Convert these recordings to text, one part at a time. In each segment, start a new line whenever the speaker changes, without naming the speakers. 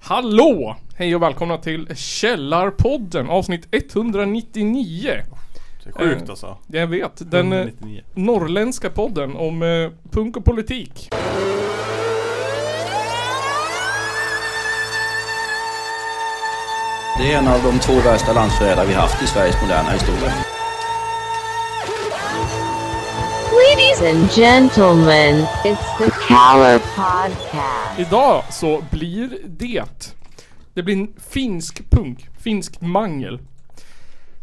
Hallå! Hej och välkomna till Källarpodden avsnitt 199.
Det är sjukt alltså.
Jag vet, den eh,
199.
norrländska podden om eh, punk och politik.
Det är en av de två värsta landsförrädare vi haft i Sveriges moderna historia.
Ladies and gentlemen, it's the Cower Podcast.
Idag så blir det Det blir en finsk punk, finsk mangel.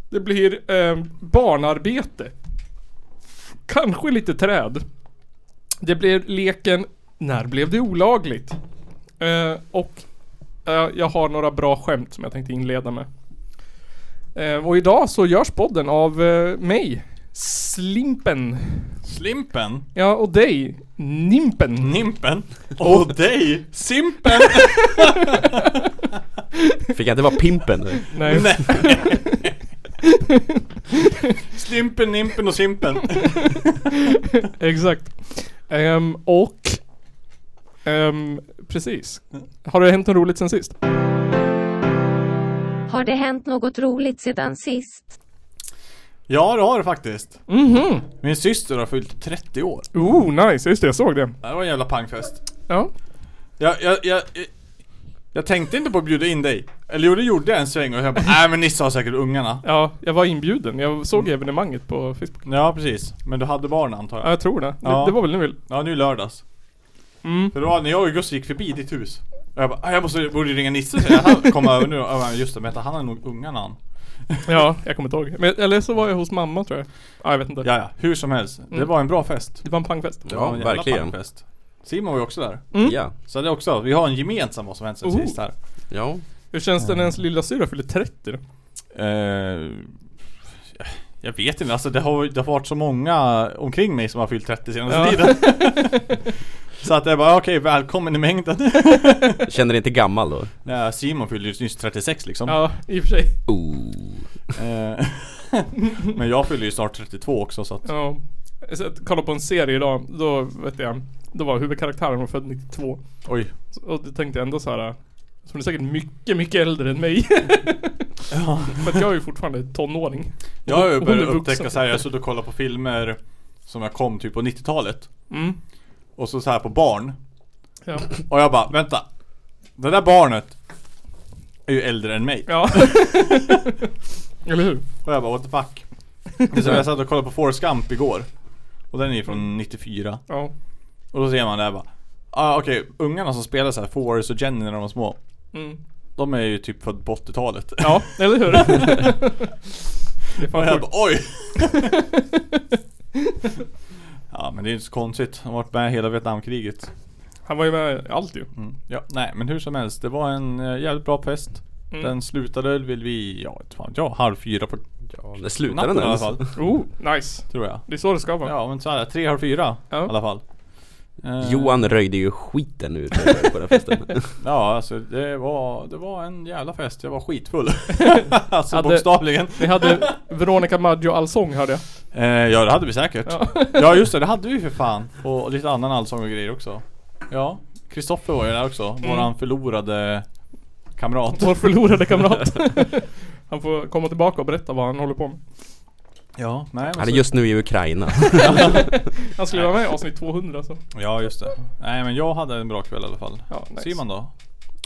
Det blir eh, barnarbete. Kanske lite träd. Det blir leken När blev det olagligt? Eh, och eh, jag har några bra skämt som jag tänkte inleda med. Eh, och idag så görs podden av eh, mig, Slimpen.
Slimpen,
Ja, och dig, Nimpen.
Nimpen och dig, Simpen!
Fick jag inte vara pimpen?
Mm.
nu?
Nej.
Nej. Slimpen, Nimpen och Simpen.
Exakt. Ehm, och... ehm, precis. Har det hänt något roligt sen sist?
Har det hänt något roligt sedan sist?
Ja det har det faktiskt.
Mhm.
Min syster har fyllt 30 år.
Oh, nice. Just det, jag såg det.
Det var en jävla pangfest.
Ja.
Jag, jag, jag, jag, jag tänkte inte på att bjuda in dig. Eller jo det gjorde jag en sväng och jag bara nej men Nisse har säkert ungarna.
Ja, jag var inbjuden. Jag såg evenemanget på Facebook.
Ja precis. Men du hade barn antar
Mm. Ja,
jag.
jag tror det.
Ja.
Det, det var väl nu
Ja nu är lördags.
Mm.
För det var när jag och Gustav gick förbi ditt hus. Och jag bara "Ah, jag måste, borde ringa Nisse så jag kommer över nu. Och jag bara, just det, vänta han har nog ungarna han.
Ja, jag kommer inte ihåg. Men, eller så var jag hos mamma tror jag. Ja, jag vet inte.
Ja, ja, hur som helst.
Mm.
Det var en bra fest.
Det var en pangfest.
Det
Ja,
var en jävla
verkligen.
pangfest. Simon var ju också där.
Mm. Ja.
Så det är också, vi har en gemensam vad som hänt sen
Oh.
sist här.
Ja.
Hur känns det när ens lilla syra fyller 30? då?
Eh, jag vet inte, alltså det har, det har varit så många omkring mig som har fyllt 30 senaste
Ja.
tiden. så att jag bara, okej välkommen i mängden.
Känner dig inte gammal då?
Nej, Simon fyllde ju nyss 36 liksom.
Ja, i och för sig.
Oh.
Eh, Men jag fyller ju snart 32 också så att
Ja. Jag satt- kollade på en serie idag. Då vet jag. Då var huvudkaraktären var född 92.
Oj
Och då tänkte jag ändå så här. Som är säkert mycket, mycket äldre än mig. För att jag är ju fortfarande tonåring.
Jag har ju
Hon är
börjat
vuxen.
upptäcka så här, jag har suttit och kollat på filmer Som jag kom typ på 90-talet
Mm.
Och så, så här på barn
Ja.
Och jag bara, vänta Det där barnet Är ju äldre än mig
ja. Eller hur?
Och jag bara, what the fuck Det är som jag satt och kollade på Forrest Gump igår Och den är ju från 94
Ja.
Och då ser man där bara Ah, Okej, ungarna som spelar så här Forrest och Jenny när de var små
Mm.
De är ju typ född på 80-talet
Ja, eller hur? det är
Och
fan
jag
sjukt.
bara, oj! ja men det är inte så konstigt, han har varit med hela Vietnamkriget.
Han var ju med i allt ju.
Ja, nej men hur som helst, det var en eh, jävligt bra fest.
Mm.
Den slutade väl vid, ja inte fan ja, halv fyra på
Ja, det slutar
natten
den
i alla
ens.
fall.
Oh, nice.
Tror jag.
Det är så det ska vara.
Ja men så här, tre, halv fyra
Ja.
i alla fall. Eh,
Johan röjde ju skiten ur det på den festen.
Ja alltså det var, det var en jävla fest, jag var skitfull. alltså
Hade-
bokstavligen.
Ni hade Veronica Maggio allsång hörde jag.
Eh, ja det hade vi säkert.
Ja.
Ja just det, det hade vi för fan. Och lite annan allsång och grejer också. Ja, Kristoffer var ju där också.
Mm.
Våran förlorade kamrat.
Vår förlorade kamrat. han får komma tillbaka och berätta vad han håller på med.
Ja, nej alltså, men
Han är
så-
just nu i Ukraina.
Han skulle vara med i avsnitt 200 så.
Ja just det. Nej men jag hade en bra kväll i alla fall.
Ja, nice.
Simon då?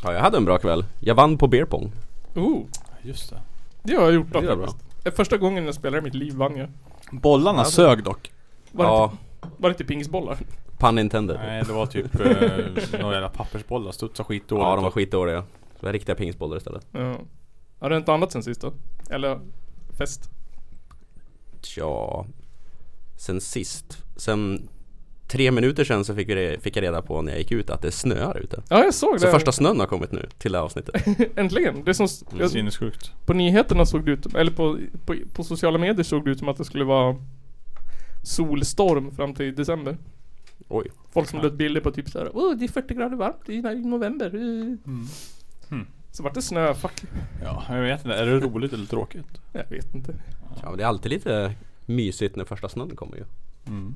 Ja, jag hade en bra kväll. Jag vann på beer pong.
Oh,
Just det.
det har jag gjort då
Det är bra.
faktiskt. Första gången jag spelade i mitt liv vann jag.
Bollarna sög dock.
Var, det,
Ja,
inte, var det inte pingisbollar?
pun intended.
Nej det var typ eh, några jävla pappersbollar, studsade skitdåligt.
Ja, de var skitdåliga. Det var riktiga pingisbollar istället.
Ja. Har det hänt annat sen sist då? Eller fest?
Tja. Sen sist. Sen tre minuter sen så fick, vi re- fick jag reda på när jag gick ut att det snöar ute.
Ja jag såg
Så
det.
första Mm. snön har kommit nu till det här avsnittet.
Äntligen! Det är som,
Och-
jag,
Sinnessjukt.
på nyheterna såg det ut, eller på, på, på sociala medier såg det ut som att det skulle vara solstorm fram till december.
Oj.
Folk som lade ut bilder på typ såhär Åh det är 40 grader varmt i i november. eh."
Hmm.
Så vart det snö, fuck.
Ja, jag vet inte. Är det roligt eller tråkigt?
Jag vet inte.
Ja, men det är alltid lite mysigt när första snön kommer ju.
Mm.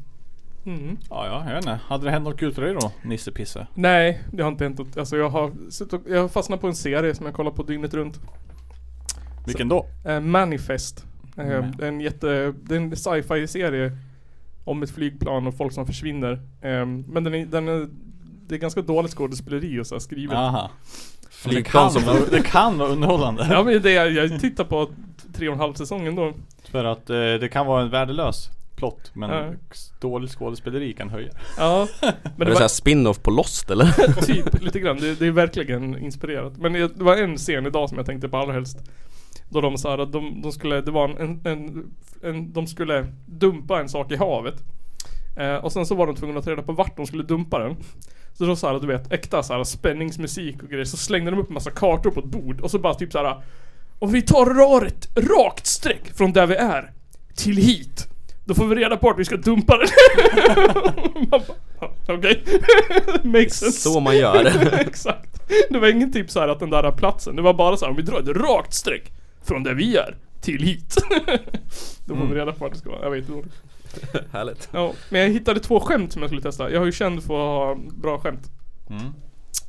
Ja, ja, jag vet inte. Hade det hänt något kul för dig då? Nisse Pisse?
Nej, det har inte hänt. något. Alltså jag har, suttit och- jag har fastnat på en serie som jag kollar på dygnet runt.
Vilken då?
Eh, Manifest. Eh,
Mm.
En jätte, det är en sci-fi serie om ett flygplan och folk som försvinner. Eh, men den är, den är, det är ganska dåligt skådespeleri och så här skrivet.
Aha. Men Det
Flygplan
kan,
som...
vara- det kan vara underhållande.
Ja men det är, jag tittar på tre och en halv säsong ändå.
För att eh, det kan vara en värdelös plott men
Ja.
dålig skådespeleri kan höja.
Ja.
Var
Men
det
det var
såhär spin-off på Lost eller?
typ lite grann, det, det är verkligen inspirerat. Men det, det var en scen idag som jag tänkte på allra helst. Då de sa att de, de skulle, det var en, en, en, en, de skulle dumpa en sak i havet. Eh, och sen så var de tvungna att ta reda på vart de skulle dumpa den. Så då såhär, du vet, äkta såhär spänningsmusik och grejer. Så slängde de upp en massa kartor på ett bord och så bara typ såhär. Om vi tar röret rakt streck från där vi är till hit. Då får vi reda på att vi ska dumpa den. Man bara, "Ja, Okej. Makes sense.
Så man gör.
Exakt. Det var ingen typ så här att den där platsen, det var bara så här, om vi drar ett rakt streck från där vi är till hit. Då får vi reda på vad det ska vara. Jag vet inte.
Härligt.
Ja, men jag hittade två skämt som jag skulle testa. Jag är ju känd för att ha bra skämt.
Mm.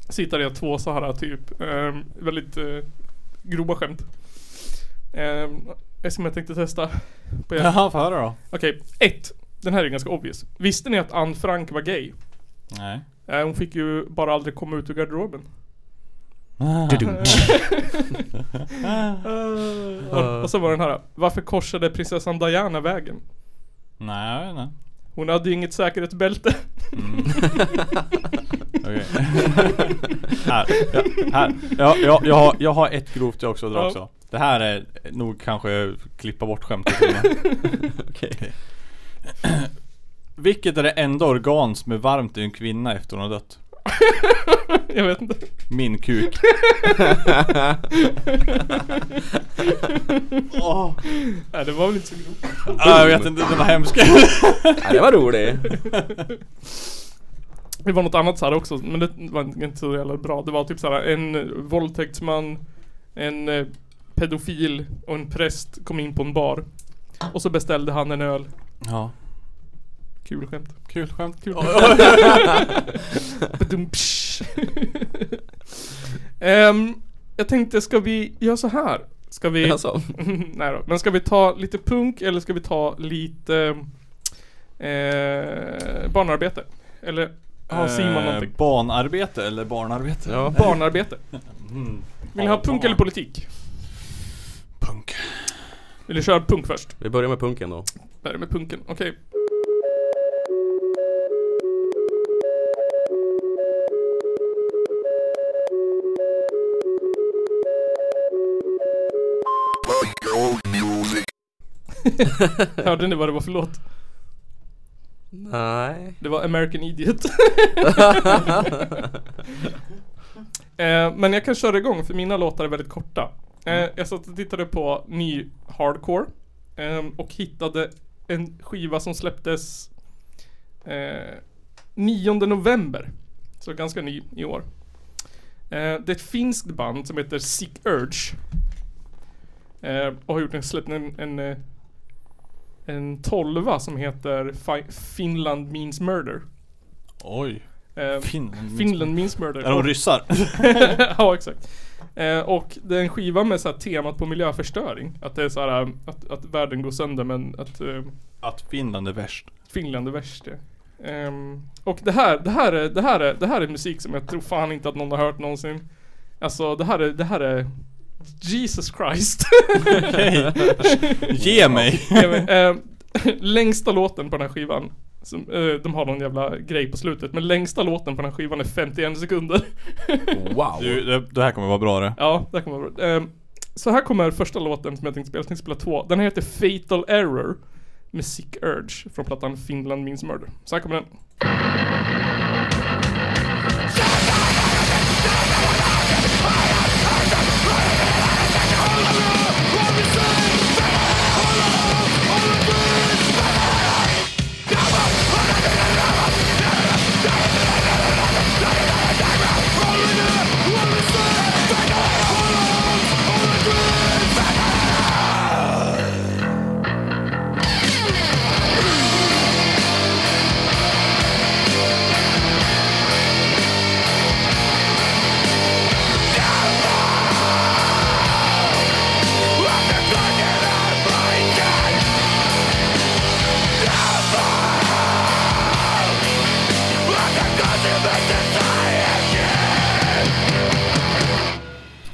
Så hittade jag två så här typ ehm, väldigt eh, grova skämt. Ehm, som jag tänkte testa på er.
Jaha, få höra då.
Okej, ett. Den här är ganska obvious. Visste ni att Anne Frank var gay?
Nej.
Eh, hon fick ju bara aldrig komma ut ur garderoben. Och, och så var den här. Varför korsade prinsessan Diana vägen?
Nej, jag vet inte. Mm.
Hon hade ju inget säkerhetsbälte.
Okej. här. Ja, här. Ja, ja, jag, har, jag har ett grovt jag också drar
Ja.
också. Det här är nog kanske klippa bort skämtet. innan.
Okej.
Vilket är det enda organ som är varmt i en kvinna efter hon har dött?
Jag vet inte.
Min kuk. Åh.
Nej, det var väl inte så grovt.
Ja, jag vet inte, det var hemskt.
Ja, det var roligt.
Det var något annat så här också, men det var inte så jävla bra. Det var typ så här en eh, våldtäktsman, en eh, pedofil och en präst kom in på en bar. Och så beställde han en öl.
Ja.
Kul skämt.
Kul skämt.
Kul. Badum, psh. Ehm, jag tänkte, ska vi göra så här? Ska vi...
Alltså.
Nej då. Men ska vi ta lite punk eller ska vi ta lite eh, barnarbete? Eller har Simon någonting?
Eh, Barnarbete eller barnarbete?
Ja.
Barnarbete.
Mm.
Vill ni ha punk eller politik?
Punk.
Vill ni köra punk först?
Vi börjar med punken då.
Där är med punken, okej. Hörde ni vad det var för låt?
Nej.
Det var American Idiot. eh, men jag kan köra igång för mina låtar är väldigt korta.
Mm.
Eh, jag satt och tittade på ny hardcore ehm, och hittade en skiva som släpptes eh, 9 november. Så ganska ny i år. Eh, det är ett finskt band som heter Sick Urge. Eh, och har gjort en, släppt en, en, eh, en tolva som heter Fi- Finland Means Murder.
Oj.
Eh,
Finland.
Finland Means Murder.
Är de
Och-
ryssar?
ja, exakt. Eh, och det är en skiva med så här temat på miljöförstöring. Att det är så här eh, att, att världen går sönder men att eh,
Att Finland är värst.
Finland är värst. ja. Ehm, och det här, det här är, det här är, det här är musik som jag tror fan inte att någon har hört någonsin. Alltså det här är, det här är Jesus Christ.
Okej. Ge mig.
Ja, men, eh, längsta låten på den här skivan som, eh, de har någon jävla grej på slutet, men längsta låten på den här skivan är 51 sekunder.
Wow.
Du, det, det här kommer vara bra det.
Ja, det här kommer vara bra. Ehm, så här kommer första låten som jag tänkte spela. Jag tänkte spela två. Den här heter Fatal Error med Sick Urge från plattan Finland Means Murder. Så här kommer den.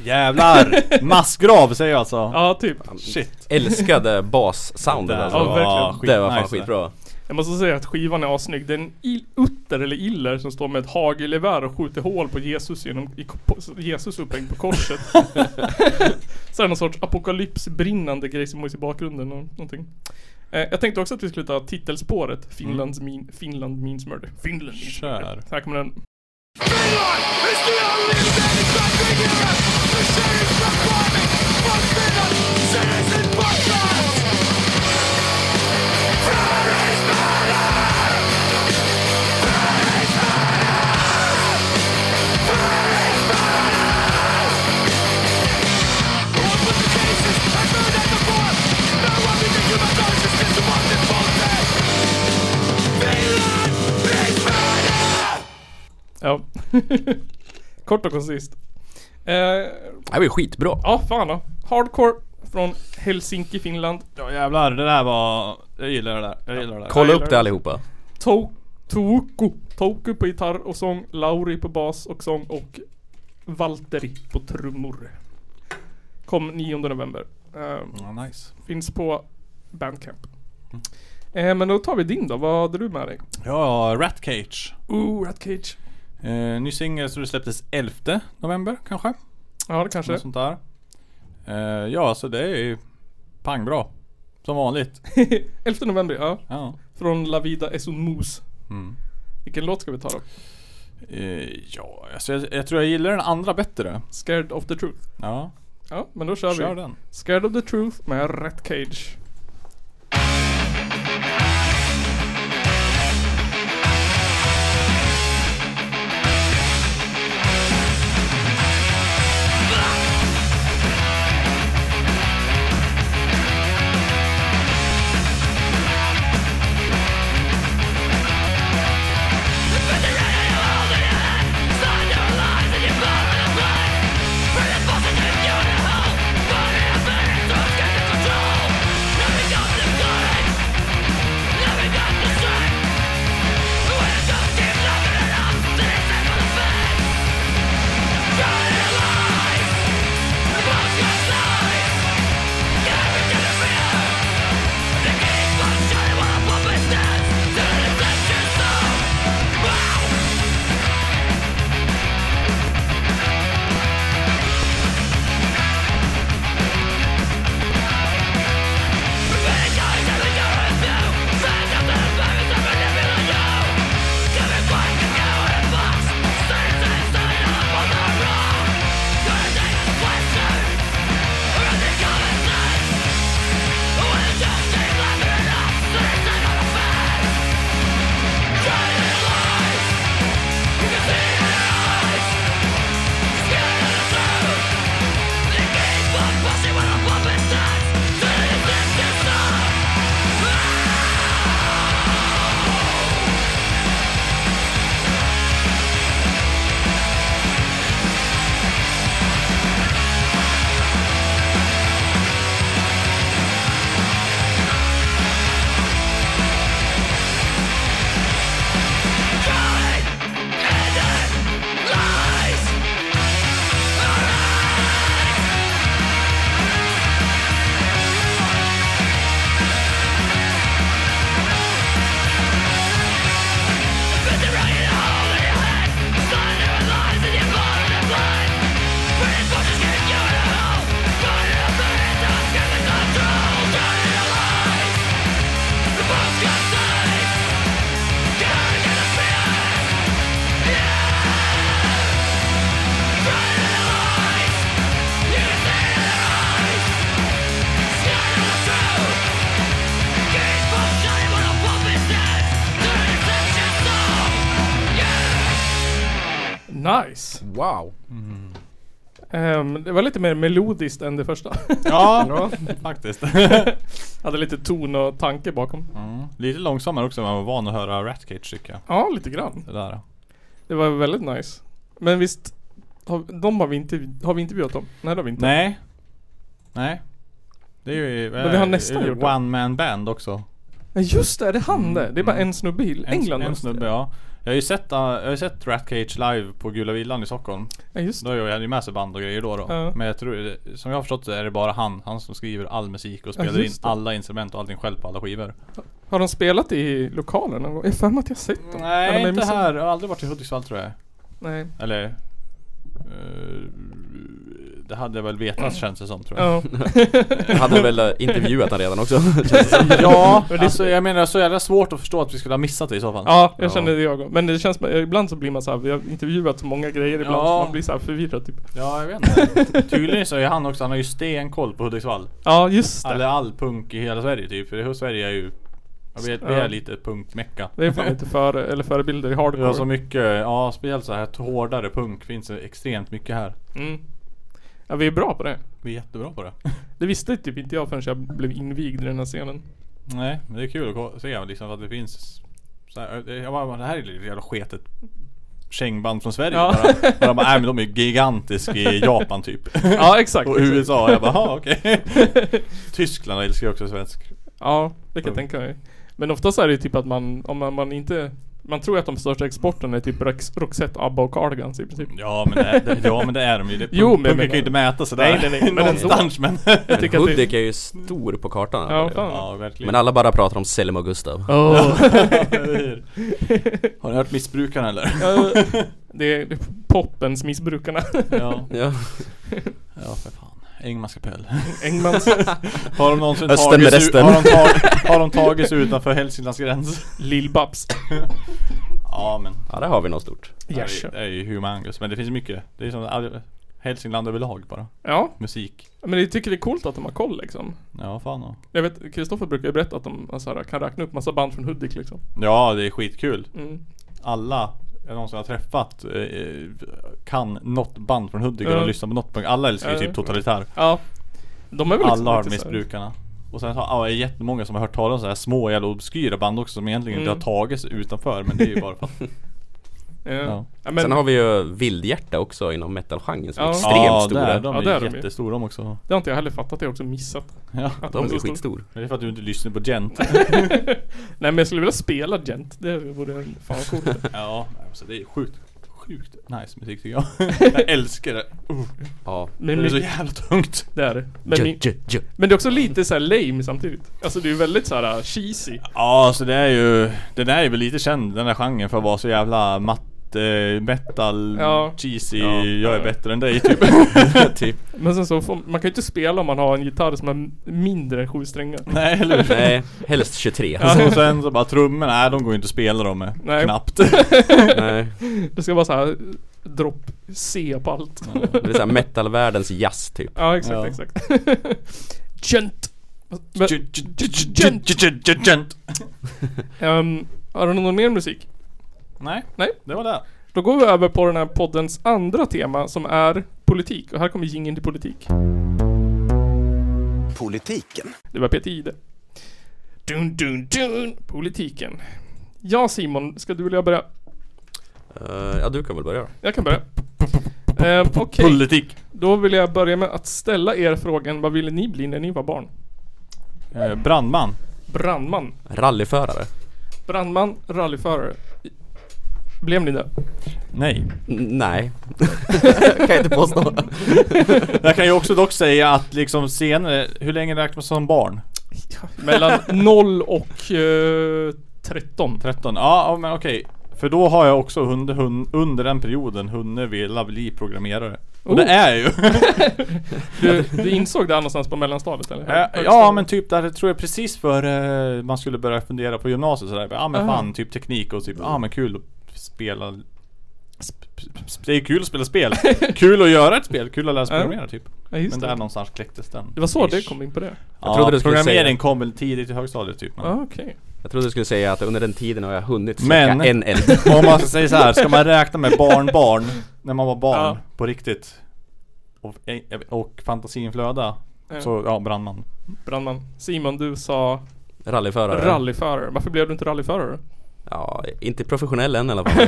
jävlar! Massgrav säger jag alltså.
Ja, typ.
Shit.
Älskade bassoundet alltså.
Ja, verkligen.
Det var fan
skitnice det.
skitbra.
Jag måste säga att skivan är assnygg. Det är en il- utter eller iller som står med ett hagelgevär och skjuter hål på Jesus genom, i, på, Jesus upphängd på korset. Så är det någon sorts apokalypsbrinnande grej som höjs i bakgrunden och någonting. Eh, jag tänkte också att vi skulle ta titelspåret. Finlands min, Finland means murder. Finland means murder.
Kör.
Här kommer den. Ja. Kort och koncist. Eh,
Det var ju skitbra.
Ja, fan då. Hardcore från Helsinki, Finland.
Ja jävlar, det där var... Jag gillar det där. Jag gillar det där.
Kolla
jag gillar
upp
det.
det allihopa.
To- Touko. Touko på gitarr och sång. Lauri på bas och sång. Och Valtteri på trummor. Kom 9 november. Ehm,
Ja, nice.
finns på Bandcamp. Eh, men då tar vi din då. Vad hade du med dig?
Ja, Rat Cage.
Ooh, Rat Cage.
Eh, ny singel så det släpptes 11 november kanske.
Ja, det kanske.
Något sånt där. Eh, ja, så det är ju pangbra. Som vanligt.
11 november, ja.
Ja.
Från La Vida es un mus. Vilken låt ska vi ta då?
Eh, ja, alltså jag, jag tror jag gillar den andra bättre.
Scared of the truth.
Ja,
Ja, men då kör,
kör
vi.
den.
Scared of the truth med Rat Cage. Nice!
Wow.
Ehm, det var lite mer melodiskt än det första.
Ja, faktiskt.
Hade lite ton och tanke bakom.
Mm. Lite långsammare också än man var van att höra Rat Cage tycker jag.
Ja, lite grann.
Det där.
Det var väldigt nice. Men visst, har, de har vi, interv- har vi intervjuat dem? Nej, det har vi inte.
Nej. Nej. Det är ju... eh,
Men vi har nästan gjort det.
One man band också.
Nej. Just det, är det han där? Det är bara en snubbe i
Mm. En,
England.
en
måste-
snubbe ja. Jag har ju sett, äh, jag har ju sett Rat Cage live på Gula Villan i Stockholm
Ja just det.
Då har jag ju med sig band och grejer då, då.
Ja.
Men jag tror, som jag har förstått det är det bara han, han som skriver all musik och
Ja,
spelar in
just det.
alla instrument och allting själv på alla skivor
Har de spelat i lokalen någon gång? Jag har för mig att jag har sett dem. Eller om
Nej
jag
inte
missat-
här, jag har aldrig varit i Hudiksvall tror jag
Nej.
Eller eh, Det hade jag väl vetat känns det som tror jag
Ja.
Jag hade väl eh, intervjuat han redan också
Ja, alltså jag menar så jävla svårt att förstå att vi skulle ha missat det i så fall
Ja, jag
Ja.
känner det jag också. Men det känns som- ibland så blir man så här, vi har intervjuat så många grejer ibland
Ja.
så man blir så här förvirrad typ.
Ja, jag vet inte. Tydligen så är han också, han har ju stenkoll på Hudiksvall.
Ja, just det.
Eller all punk i hela Sverige typ. För det- Sverige är ju, jag vet, vi
Ja.
är lite punkmecka.
Det är fan lite före, eller förebilder i
Vi
hardcore.
har så mycket, ja speciellt så här hårdare punk finns det extremt mycket här.
mm. Ja, vi är bra på det.
Vi är jättebra på det.
Det visste typ inte jag förrän jag blev invigd i den här scenen.
Nej, men det är kul att ko- se liksom att det finns så här, eh, jag bara, det här är ju ett jävla sketet kängband från Sverige
Ja.
bara. Och de bara, nej men de är gigantiska i Japan typ.
Ja, exakt.
Och
exakt.
USA, jag bara, "Jaha, okej. Tyskland älskar ju också svensk
Ja, det kan jag
Mm.
tänka mig. Men ofta så är det ju typ att man, om man, man inte man tror ju att de största exporten är typ Rox- Roxette, ABBA och Cardigans i princip.
Ja men det är, det, ja, men det är de ju. Det,
Typ. Jo, men-
punk, punken
men-
kan ju inte mäta sådär.
Nej, nej, nej, men ändå.
Någonstans men...
Jag tycker att det...
Hudik är ju stor på kartan
Ja, fan. Oh.
ja verkligen.
Men alla bara pratar om Selim och Gustav
Åh.
Har ni hört missbrukaren eller?
Ja, det är poppens missbrukarna.
ja.
ja.
ja för fan. Engmans kapell.
Engmans
Har de någonsin
Östen
tagit
med
sig-
resten.
Har de, tag, har de tagit sig utanför Hälsinglands gräns?
Lill-Babs.
Ja men.
ja, där har vi något stort
Yes.
Det är- Det är ju humongous. Men det finns mycket. Det är som all- Hälsingland överlag bara.
Ja,
Musik.
men jag tycker det är coolt att de har koll liksom.
Ja fan och.
Jag vet, Kristoffer brukar ju berätta att de så här, kan räkna upp massa band från Hudik liksom.
Ja det är skitkul.
Mm.
alla jag någonsin har träffat eh, kan något band från Hudik
Ja.
eller lyssnar på något punk. Alla älskar ju
Ja.
typ Totalitär.
Ja. De är väl liksom
Alla har
lite så här-
missbrukarna. Och sen så har ja, jättemånga som har hört talas om så här små jävla obskyra band också som egentligen
Mm.
inte har tagits utanför men det är ju bara för att
Ja.
Ja.
Ja, men
Sen har vi ju Vildhjärta också inom metalgenren som
Ja.
är extremt
Ja,
stora
Där, de
Ja,
är,
där är de ju.
jättestora de också.
Det har inte jag heller fattat, det har jag också missat.
Ja.
Att
De är
så
ju
stor.
skitstor
Men det är för att du inte lyssnar på Gent.
Nej men jag skulle vilja spela Gent, det vore fan vad coolt.
ja, alltså det är sjukt. Sjukt nice musik tycker jag. jag älskar det.
Ja
Det
Men
är så
min,
jävla tungt.
det är det. Men, min, men det är också lite så här lame samtidigt. Alltså det är ju väldigt så här uh, cheesy.
Ja, så det är ju... Den där är väl lite känd, den här genren, för att vara så jävla matte, metal,
Ja.
cheesy,
Ja.
jag är bättre än dig typ. typ.
Men sen så får, man kan ju inte spela om man har en gitarr som är mindre än sju strängar.
Nej, eller hur?
Nej, helst Alltså, 23
Och sen så bara trummorna, nej de går ju inte att spela dem med.
Nej.
Knappt.
Nej.
Det ska vara så här eh, dropp C på allt.
Det är såhär metalvärldens jazz typ
Ja exakt,
Ja.
exakt. Gent. Men, ehm, har du någon mer musik?
Nej,
Nej.
det var det.
Då går vi över på den här poddens andra tema som är politik. Och här kommer jingeln till politik.
Politiken.
Det var Peter Jihde. Dun, dun, dun. Politiken. Ja Simon, ska du vilja börja?
Eh, Ja du kan väl börja då.
Jag kan börja. Ehm, Okej,
Politik.
då vill jag börja med att ställa er frågan, vad ville ni bli när ni var barn?
Eh, brandman.
Brandman.
Rallyförare
Brandman, rallyförare. Blev ni det?
Nej.
N- Nej Kan jag inte påstå
Jag kan ju också dock säga att liksom senare, hur länge räknas man som barn?
Mellan 0 och eh, 13.
13, ja ja, men okej. För då har jag också under, hun, under den perioden hunnit vilja bli programmerare. Och det
Oh.
är jag ju.
Du, du insåg det här någonstans på mellanstadiet eller?
Ja, Eh, ja
Högstadiet.
men typ där tror jag precis före man skulle börja fundera på gymnasiet sådär. Ja men
Aha.
fan typ teknik och typ, ja men kul att spela sp- sp- sp- det är kul att spela spel. Kul att göra ett spel, kul att lära sig
Ja.
programmera typ.
Ja, just
Men
det.
där någonstans kläcktes den.
Det var så
Ish.
det kom in på det?
Ja,
trodde du skulle
programmering
säga-
kom väl tidigt i högstadiet typ. Men,
Ja, okej.
Jag trodde du skulle säga att under den tiden har jag hunnit släcka
Men-
en eld
Om man ska säga så här, ska man räkna med barnbarn när man var barn
Ja.
på riktigt och, eh, och fantasin flöda
Ja.
så ja, brandman.
Brandman. Simon, du sa
Rallyförare
rallyförare. Varför blev du inte rallyförare?
Ja, inte professionell än i alla fall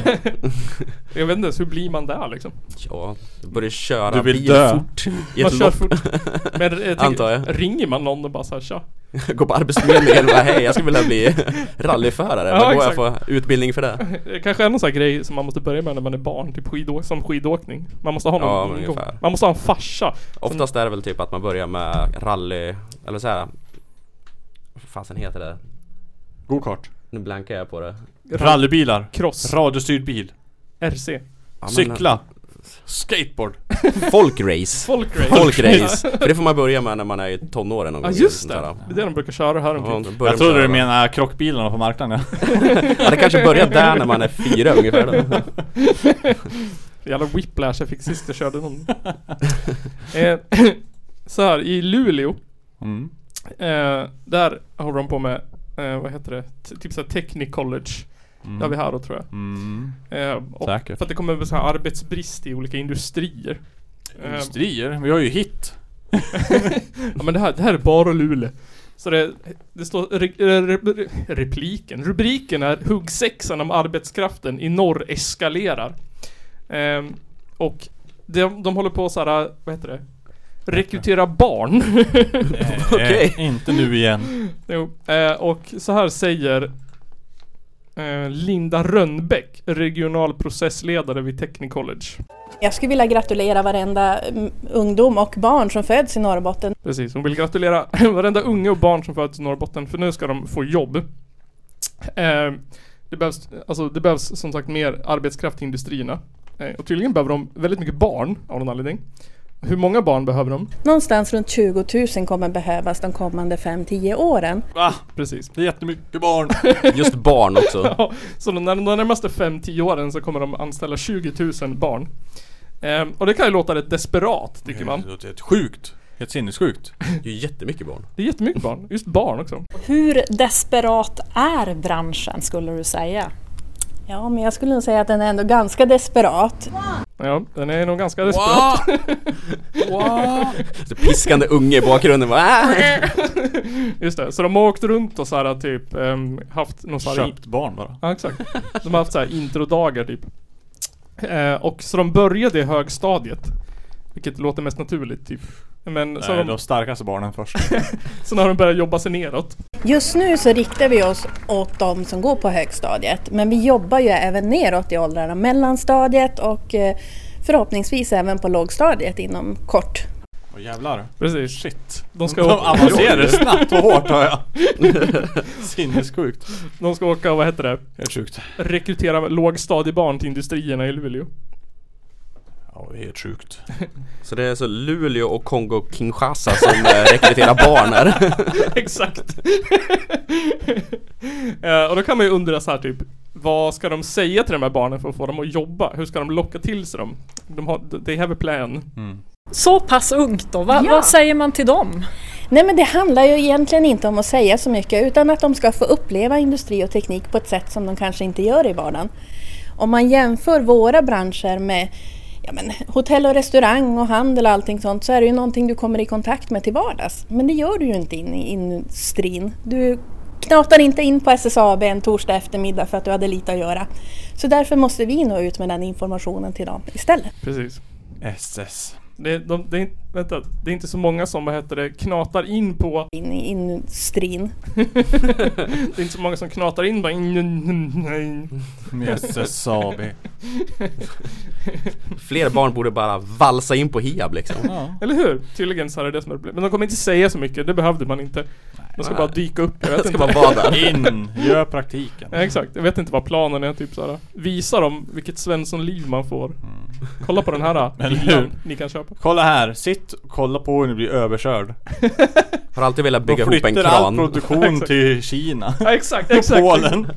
Jag vet inte ens, hur blir man där liksom?
Ja, du börjar köra
Du vill
bil
dö.
fort i
Man
ett
kör
lopp
fort. Men eh, jag tänker,
Antar jag.
ringer man någon och bara såhär tja?
Gå på arbetsförmedlingen och bara hej jag skulle vilja bli rallyförare,
Ja,
vad går jag
exakt.
få utbildning för det?
Det Eh, kanske är någon sån här grej som man måste börja med när man är barn, typ skidå- som skidåkning. Man måste ha
Ja,
någon
men
ingång.
ungefär.
Man måste ha en farsa.
Oftast är det väl typ att man börjar med rally, eller så här. Vad fasen heter det?
Gokart
Nu blankar jag på det
Rallybilar
Cross,
Radiostyrd bil
RC,
Ja, men-
Cykla Skateboard
Folkrace
folkrace.
Folkrace! För det får man börja med när man är i tonåren någon
Ja
gång,
just
sånt
det.
där.
Det är det de brukar köra här
Ja,
omkring.
då börjar
Jag
de
trodde
köra
du
då.
menade krockbilarna på marknaden ja.
Ja, det kanske börjar där när man är fyra ungefär då.
Jävla whiplash jag fick sist jag körde någon. eh, så här, i Luleå
mm.
Eh, där håller de på med, eh, vad heter det? T- typ såhär Technic College. Där vi här då tror jag.
Mm.
Eh, och
Säkert.
För att det kommer med så här arbetsbrist i olika industrier. Eh,
Industrier, vi har ju hit
ja men det här, det här är bara Luleå. Så det, det står re, re, re, repliken, rubriken är huggsexan om arbetskraften i norr eskalerar. Ehm, och de, de håller på så här, vad heter det? Rekrytera barn.
Okej.
eh, Inte nu igen
Jo, eh, och så här säger eh, Linda Rönnbäck, regional processledare vid Technic College.
Jag skulle vilja gratulera varenda mm, ungdom och barn som föds i Norrbotten.
Precis, hon vill gratulera varenda unge och barn som föds i Norrbotten för nu ska de få jobb. Eh, det, behövs, alltså, det behövs som sagt mer arbetskraft i industrierna. Eh, och tydligen behöver de väldigt mycket barn av någon anledning. Hur många barn behöver de?
Någonstans runt 20 000 kommer behövas de kommande 5-10 åren.
Va?
Precis.
Det är jättemycket barn
Just barn också.
Ja, så de, när- de närmaste 5-10 åren så kommer de anställa 20 000 barn. Ehm, och det kan ju låter rätt desperat tycker man.
Det låter helt sjukt Helt sinnessjukt
Det är ju jättemycket barn.
Det är jättemycket barn, just barn också.
Hur desperat är branschen skulle du säga?
Ja, men jag skulle nog säga att den är ändå ganska desperat.
Ja, den är nog ganska desperat.
Så piskande unge i bakgrunden bara, "Ah!"
Just det, så de har åkt runt och så här typ ehm, haft någon så här
Köpt barn bara
Ja exakt. De har haft så här introdagar typ. Eh, och så de började i högstadiet. Vilket låter mest naturligt typ. Men så,
Nej,
har
de
de,
starkaste barnen först
sen har de börjat jobba sig neråt.
Just nu så riktar vi oss åt de som går på högstadiet, men vi jobbar ju även neråt i åldrarna, mellanstadiet och eh, förhoppningsvis även på lågstadiet inom kort.
Åh jävlar
Precis.
Shit
De ska,
De
åka,
avancerar snabbt och hårt hör jag Sinnessjukt
de ska åka, vad heter det?
Helt sjukt
Rekrytera lågstadiebarn till industrierna i Luleå.
Ja det är helt sjukt
Så det är så Luleå och Kongo-Kinshasa som eh, rekryterar barn här.
Exakt. Eh, och då kan man ju undra så här typ vad ska de säga till de här barnen för att få dem att jobba? Hur ska de locka till sig dem? De har, they have a plan.
Mm.
Så pass ungt då, Va,
Ja.
vad säger man till dem?
Nej men det handlar ju egentligen inte om att säga så mycket utan att de ska få uppleva industri och teknik på ett sätt som de kanske inte gör i vardagen. Om man jämför våra branscher med ja, men, hotell och restaurang och handel och allting sånt så är det ju någonting du kommer i kontakt med till vardags. Men det gör du ju inte in i industrin. Du knatar inte in på SSAB en torsdag eftermiddag för att du hade lite att göra. Så därför måste vi nå ut med den informationen till dem istället.
Precis.
SS
Det, de, det, är, inte- vänta, det är inte så många som, vad heter det, knatar in på...
In i industrin.
Det är inte så många som knatar in bara... Nej.
SS AB
Fler barn borde bara valsa in på Hiab liksom.
Ja
Eller hur? Tydligen så här är det som är problemet. Men de kommer inte säga så mycket, det behövde man inte. De ska bara dyka upp, jag vet
Ska
inte.
bara vara där.
In, gör praktiken
Ja, exakt, jag vet inte vad planen är typ såhär. Visa dem vilket Svensson-liv man får. Kolla på den här
Eller
bilen
hur?
ni kan köpa.
Kolla här, sitt och kolla på hur ni blir överkörd
Har alltid
De
velat bygga ihop en
flyttar all
kran.
produktion till Kina
Ja, exakt,
och
exakt.
Polen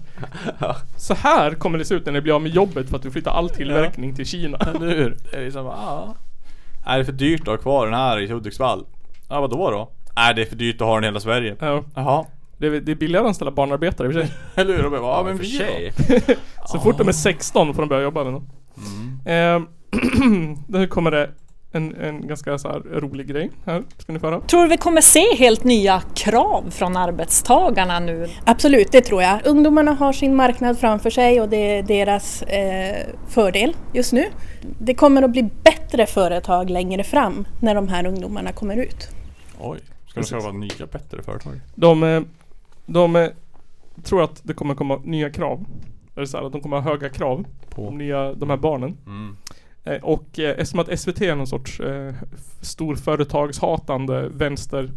Så här kommer det se ut när ni blir av med jobbet för att du flyttar all tillverkning till Kina.
Eller hur? Det är liksom, ja. Är det för dyrt att ha kvar den här i Hudiksvall? Ja vadå då? Nej det är för dyrt att ha den i hela Sverige
Ja,
Jaha
det, är- det är billigare att anställa barnarbetare i och för sig.
Eller hur? De bara, ja
I
men
och för
vi
sig.
Så fort de är 16 får de börja jobba med något. Mm. nu kommer det en, en ganska så här rolig grej här, ska ni få höra.
Tror du vi kommer se helt nya krav från arbetstagarna nu?
Absolut, det tror jag. Ungdomarna har sin marknad framför sig och det är deras eh, fördel just nu. Det kommer att bli bättre företag längre fram när de här ungdomarna kommer ut.
Oj, Ska de köpa nya bättre företag?
De, eh, de eh, tror att det kommer komma nya krav. Eller så här, att de kommer ha höga krav på
På?
nya, de här barnen.
Mm.
Eh, Och eh, eftersom att SVT är någon sorts eh, f- storföretagshatande vänster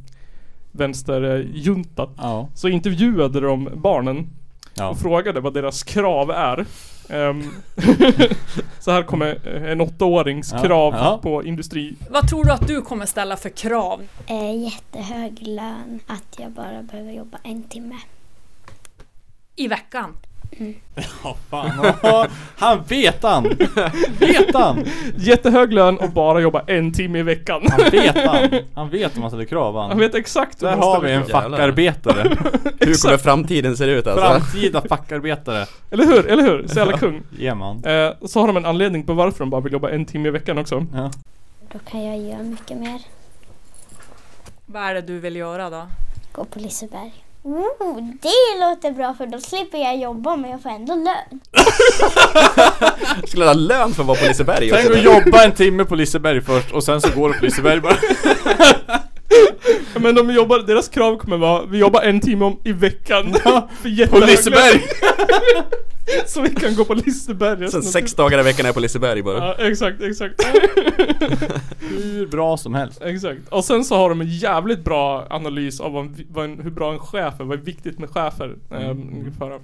vänsterjunta
Ja.
så intervjuade de barnen
ja.
och frågade vad deras krav är. Ehm, så här kommer eh, en åttaårings
Ja,
krav
ja.
på industri.
Vad tror du att du kommer ställa för krav?
Eh, jättehög lön, att jag bara behöver jobba en timme.
I veckan?
Ja, fan. Han vet han! Vet han!
Jättehög lön och bara jobba en timme i veckan.
Han vet han! Han vet om man ställer krav han.
Han vet exakt
Där
man
har
ställer
vi en
krav.
Jävlar.
fackarbetare.
Hur kommer framtiden se ut alltså?
Framtida fackarbetare.
Eller hur, eller hur? Så jävla kung.
Ge man.
Eh, och så har de en anledning på varför de bara vill jobba en timme i veckan också.
Ja.
Då kan jag göra mycket mer.
Vad är det du vill göra då?
Gå på Liseberg. Oh, det låter bra för då slipper jag jobba men jag får ändå lön.
Jag skulle ha lön för att vara på Liseberg
Tänk
också.
att jobba en timme på Liseberg först och sen så går du på Liseberg bara.
Ja, Men de jobbar, deras krav kommer vara, vi jobbar en timme om i veckan. För
På
jättehög lön.
Liseberg!
Så vi kan gå på Liseberg resten
Sen
av
sex
tiden.
dagar i veckan är jag på Liseberg bara.
Ja, exakt, exakt.
Hur bra som helst.
Exakt. Och sen så har de en jävligt bra analys av vad, en- vad en, hur bra en chef är, vad är viktigt med chefer. Mm. För.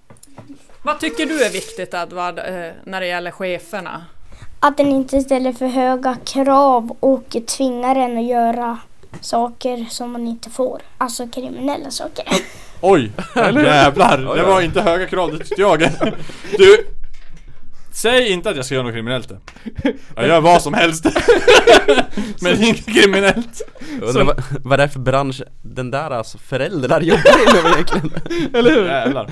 Vad tycker du är viktigt Edvard, eh, när det gäller cheferna?
Att den inte ställer för höga krav och tvingar en att göra saker som man inte får. Alltså kriminella saker.
Oj! Jävlar!
Oj,
Det
oj.
var inte höga krav, det tyckte jag. Du! Säg inte att jag ska göra något kriminellt. Jag gör vad som helst. Men inget kriminellt.
Jag Undrar vad, vad det är för bransch den där alltså föräldrar jobbar inom egentligen?
Eller hur?
Jävlar.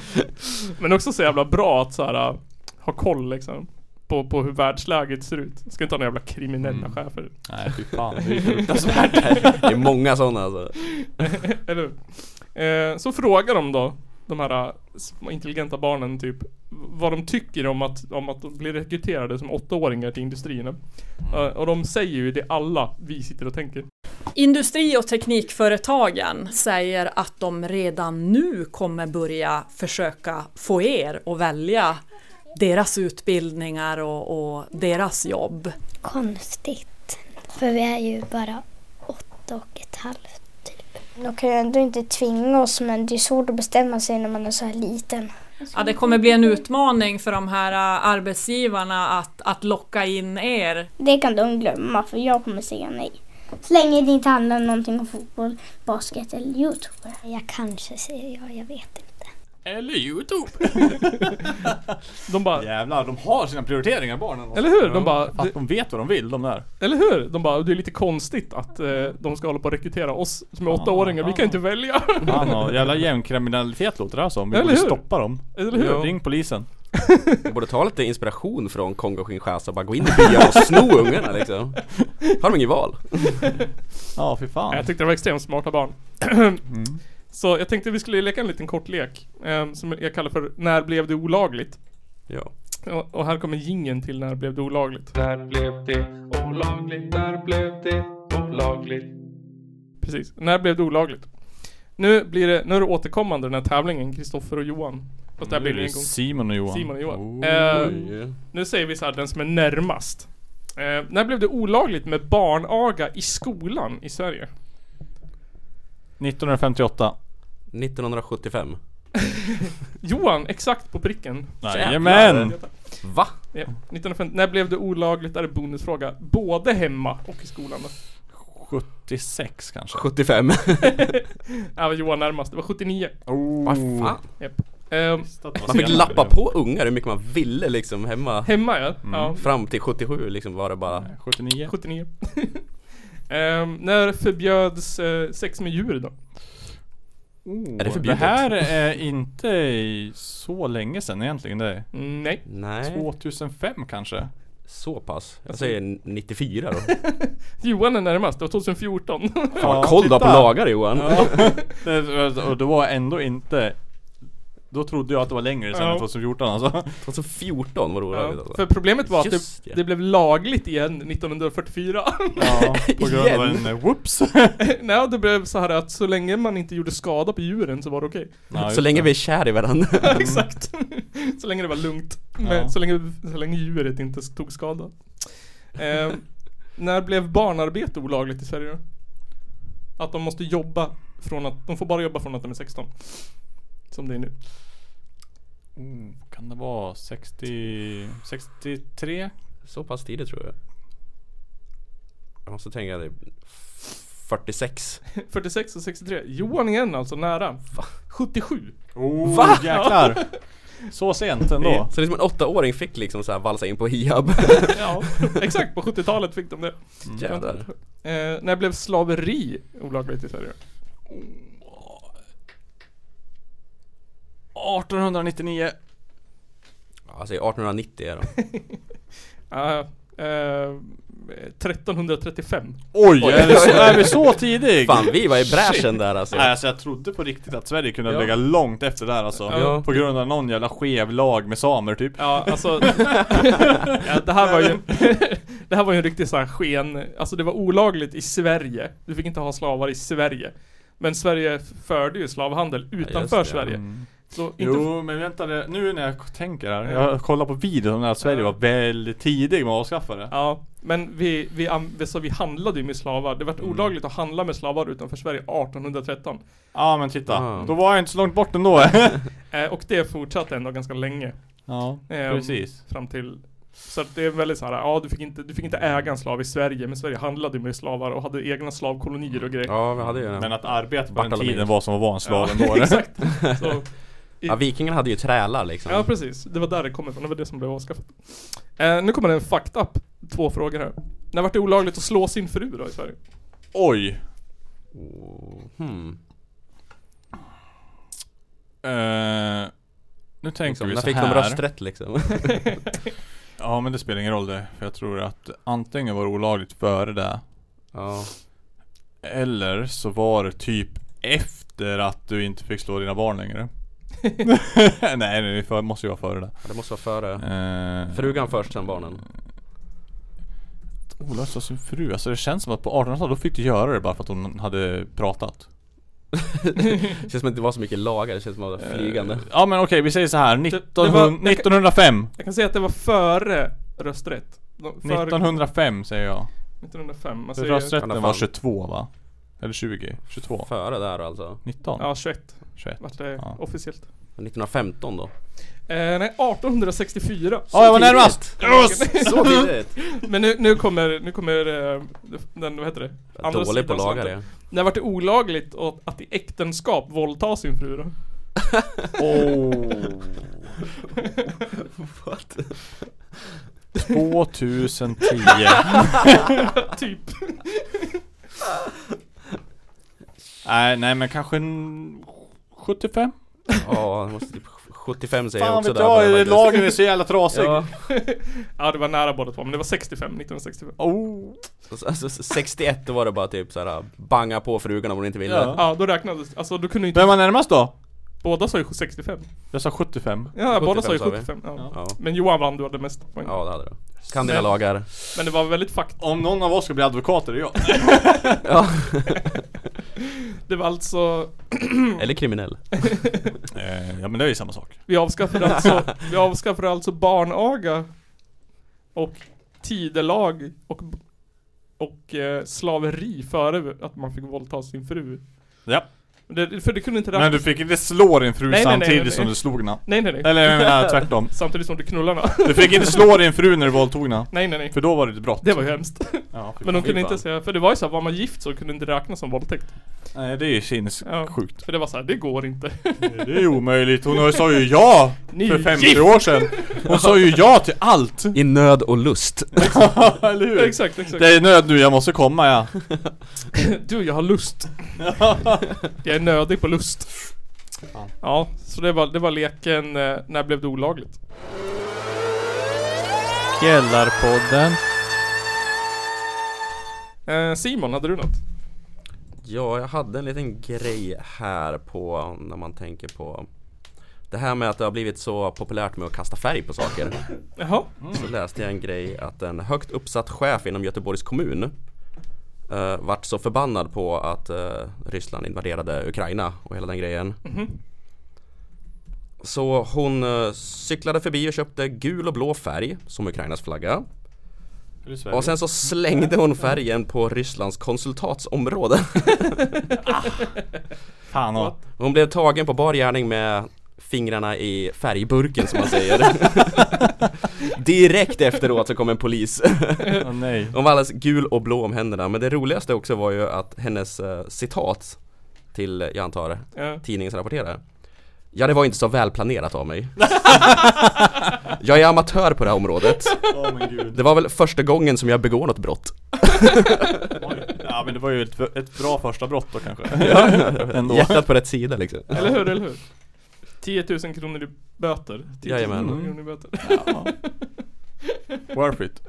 Men också så jävla bra att så här, äh, ha koll liksom. På, på hur världsläget ser ut. Jag ska inte ha några jävla kriminella chefer.
Nej fy fan, det är ju fruktansvärt.
Det är många sådana alltså.
Eller hur? Eh, Så frågar de då, de här äh, små intelligenta barnen typ, vad de tycker om att, om att de blir rekryterade som åttaåringar till industrierna. Eh, Och de säger ju det alla vi sitter och tänker.
Industri och teknikföretagen säger att de redan nu kommer börja försöka få er att välja deras utbildningar och, och deras jobb.
Konstigt. För vi är ju bara åtta och ett halvt typ. De kan ju ändå inte tvinga oss men det är svårt att bestämma sig när man är så här liten.
Ja, det kommer bli en utmaning för de här eh, arbetsgivarna att, att locka in er.
Det kan de glömma för jag kommer säga nej. Så länge det inte handlar om någonting om fotboll, basket eller Youtube. Jag kanske säger ja, jag vet inte.
Eller Youtube.
De bara,
Jävlar, de har sina prioriteringar barnen.
Eller hur? De bara-
Fan, de vet vad de vill de där.
Eller hur? De bara, det är lite konstigt att eh, de ska hålla på och rekrytera oss som är åttaåringar, vi kan inte välja.
Fan, och jävla gängkriminalitet låter det här som. Vi
Eller
borde
hur?
stoppa dem.
Eller hur?
Ring polisen.
Jag borde ta lite inspiration från Kongo Kinshasa och bara gå in i byarna och sno ungarna liksom. Har de inget val?
Ja, fy fan.
Jag tyckte det var extremt smarta barn.
Mm.
Så jag tänkte vi skulle leka en liten kort lek, eh, som jag kallar för När blev det olagligt?
Ja.
Och, och här kommer jingeln till När blev det olagligt?
Där blev det olagligt, där blev det olagligt.
Precis, När blev det olagligt? Nu blir det, nu är det återkommande den här tävlingen, Kristoffer och Johan. Fast det här
Nu
blir
är
det
det
en gång.
Simon och Johan.
Simon och Johan.
Oh.
Eh, Nu säger vi så här, den som är närmast. Eh, när blev det olagligt med barnaga i skolan i Sverige?
1958.
1975.
Johan, exakt på pricken.
Jajamän!
Va?
Ja, 1950. När blev det olagligt? Är det bonusfråga. Både hemma och i skolan då?
76 kanske.
75.
Ja, Äh, var Johan närmast. Det var 79.
Vad
Oh.
fan?
Japp. Ehm,
Man fick lappa på ungar hur mycket man ville liksom hemma.
hemma ja. ja
Fram till 77 liksom var det bara
79.
79. Ehm, när förbjöds eh, sex med djur då?
Är det
Det
förbjudet?
här är inte i så länge sedan egentligen. Det är
Mm, nej.
Nej,
2005 kanske.
så pass. Jag säger 94 då.
Johan är närmast. Det var 2014.
Ja,
Koll då på
titta.
lagar Johan.
Det- Och det var ändå inte Då trodde jag att det var längre sen
Ja.
än 2014 alltså
2014 var
Ja,
roligt alltså.
för problemet var att
Just
det,
ja.
det blev lagligt igen 1944.
Ja, på grund av en
Igen?
eh, whoops
Nej, det blev så här att så länge man inte gjorde skada på djuren så var det okej.
Ja, just
Så länge
det. Mm.
vi är kär i varandra.
Exakt. så länge det var lugnt. Men
Ja.
så, länge, så länge djuret inte tog skada. Eh, när blev barnarbete olagligt i Sverige då? Att de måste jobba från att, de får bara jobba från att de är 16. Som det är nu.
Oh, Kan det vara 60... 63?
Så pass tidigt tror jag. Jag typ måste tänka det. 46.
46 och 63. Johan igen alltså, nära. 77.
Oh, Va? jäklar! Så sent ändå
Så det är som en åttaåring fick liksom så här valsa in på hiab.
Mm. Ja, exakt. På 70-talet fick de det.
Jävlar.
Eh, när blev slaveri olagligt i Sverige?
1899
Alltså 1890 är de.
Ja, Ah, eh, 1335.
Oj, är, vi så, är vi så tidig?
Fan vi var i bräschen där alltså.
Nej alltså jag trodde på riktigt att Sverige kunde
Ja.
lägga långt efter där alltså
Ja.
På grund av någon jävla skev lag med samer typ
Ja, alltså. ja, det här var ju. det här var ju en riktig så här sken. Alltså det var olagligt i Sverige. Du fick inte ha slavar i Sverige. Men Sverige förde ju slavhandel utanför
det.
Sverige.
Mm.
Så inte
Jo men vänta det- nu när jag tänker här Jag kollar på videon när Sverige var väldigt tidig med att avskaffa det
Ja, men vi, vi, an- vi, så vi handlade ju med slavar. Det vart olagligt att handla med slavar utanför Sverige 1813.
Ja men titta,
Ah.
då var jag inte så långt bort ändå
Eh, och det fortsatte ändå ganska länge.
Ja,
Ehm.
precis
Fram till så att det är väldigt så här, ja du fick, inte, du fick inte äga en slav i Sverige, men Sverige handlade ju med slavar och hade egna slavkolonier och grejer.
Ja vi hade ju
Men
det.
att arbeta på den
Bartolomé.
tiden var som att vara en slav
Ja,
ändå eller?
Exakt. Så,
Ja vikingarna hade ju trälar liksom.
ja precis, det var där det kom ifrån, det var det som blev avskaffat. Eh, nu kommer det en fucked up, två frågor här. När vart det olagligt att slå sin fru då i Sverige?
Oj!
Hmm.
Eh, nu tänker
Liksom,
vi
när
så
fick
här.
de rösträtt liksom?
Ja men det spelar ingen roll det. För jag tror att antingen var det olagligt före det.
ja.
Eller så var det typ efter att du inte fick slå dina barn längre. nej nej, det för- måste ju vara före det.
Ja, Det måste vara före.
Eh,
Frugan först sen barnen.
Olagligt slå sin fru. Alltså det känns som att på 1800-talet då fick du göra det bara för att hon hade pratat.
Det känns som att det var så mycket lagar, det känns som att
Eh.
det var Eh, flygande.
Ja men okej vi säger så här.
Typ, det
1900,
var-
1905.
Jag kan säga att det var före rösträtt. De- Före Alltså,
1905 säger jag.
1905, man
För
säger,
alla
Rösträtten var
fall.
22 va? Eller 20? 22?
Före där alltså.
19?
ja 21
21?
vart det
Ja.
officiellt.
1915 då.
Eh, nej, 1864.
Ja jag var närmast!
Så tidigt!
Men nu, nu kommer, nu kommer eh, den, vad heter det? Andra
Dålig på
sidan
lagar
slanten.
jag.
När vart det olagligt att, att i äktenskap våldta sin fru då?
Oh.
What?
2010
typ.
Nej nej men kanske en 75?
Ja, det måste typ 75 säger jag
Fan
också
vet jag,
men
är-
faktiskt.
lagen är så jävla trasig
Ja,
Ja det var nära båda två, men det var 65, 1965.
oh.
alltså 61 då var det bara typ såhär banga på frugan om hon inte ville.
Ja.
Ja då räknades, alltså du kunde ju inte,
Vem var närmast då?
båda sa ju 65.
Jag sa 75
Ja båda sa ju
75 sa vi.
75. Ja.
Ja,
Men Johan vann, du hade mest poäng.
ja det hade du. Kan dina
Men-
lagar.
Men det var väldigt fakt.
Eh, Om någon av oss ska bli advokat är det jag
Ja.
Det var alltså,
Eller kriminell.
Eh, Ja men det är ju samma sak
vi avskaffade alltså, vi avskaffade alltså barnaga och tidelag och, och eh, slaveri före att man fick våldta sin fru.
Ja
Det, för det kunde inte
Men du fick inte slå din fru
Nej, nej, nej,
samtidigt
nej.
som du slog henne
Nej nej nej.
Eller jag menar tvärtom
Samtidigt som du knullar någon.
Du fick inte slå din fru när du våldtog henne
Nej nej nej.
För då var det ett brott
Det var ju hemskt.
ja, fy
Men de
fan.
kunde
fan.
inte säga, för det var ju så här, var man gift så kunde det inte räknas som våldtäkt.
Nej det är ju sinnessjukt
För det var så här, det går inte.
Det är ju omöjligt, hon sa ju ja
Ni
för
är
50
gift!
år sedan Hon sa ju ja till allt!
I nöd och lust.
Eller hur?
Exakt, exakt.
Det är nöd nu, jag måste komma ja
Du, jag har lust. jag är nödig på lust. Ja, så det var, det var leken, eh, när blev det olagligt?
Källarpodden
Eh, Simon, hade du något?
Ja, jag hade en liten grej här på när man tänker på Det här med att det har blivit så populärt med att kasta färg på saker.
Jaha.
Så läste jag en grej att en högt uppsatt chef inom Göteborgs kommun eh, vart så förbannad på att eh, Ryssland invaderade Ukraina och hela den grejen.
Mhm.
Så hon eh, cyklade förbi och köpte gul och blå färg som Ukrainas flagga.
Eller Sverige.
Och sen så slängde hon färgen på Rysslands konsultatsområde.
Fan och.
Hon blev tagen på bar gärning med fingrarna i färgburken som man säger. Direkt efteråt så kom en polis.
Åh, nej.
Hon var alldeles gul och blå om händerna. Men det roligaste också var ju att hennes eh, citat till, eh, jag antar,
Ja.
tidningens rapporterare. Ja, det var inte så välplanerat av mig. jag är amatör på det här området.
Åh, men gud.
Det var väl första gången som jag begår något brott.
Ja men det var ju ett, ett bra första brott då kanske. Ändå.
Hjärtat på rätt sida liksom.
Eller hur, eller hur? 10 000 kronor i böter. 10 000
Jajamän.
kronor i böter.
Worth it.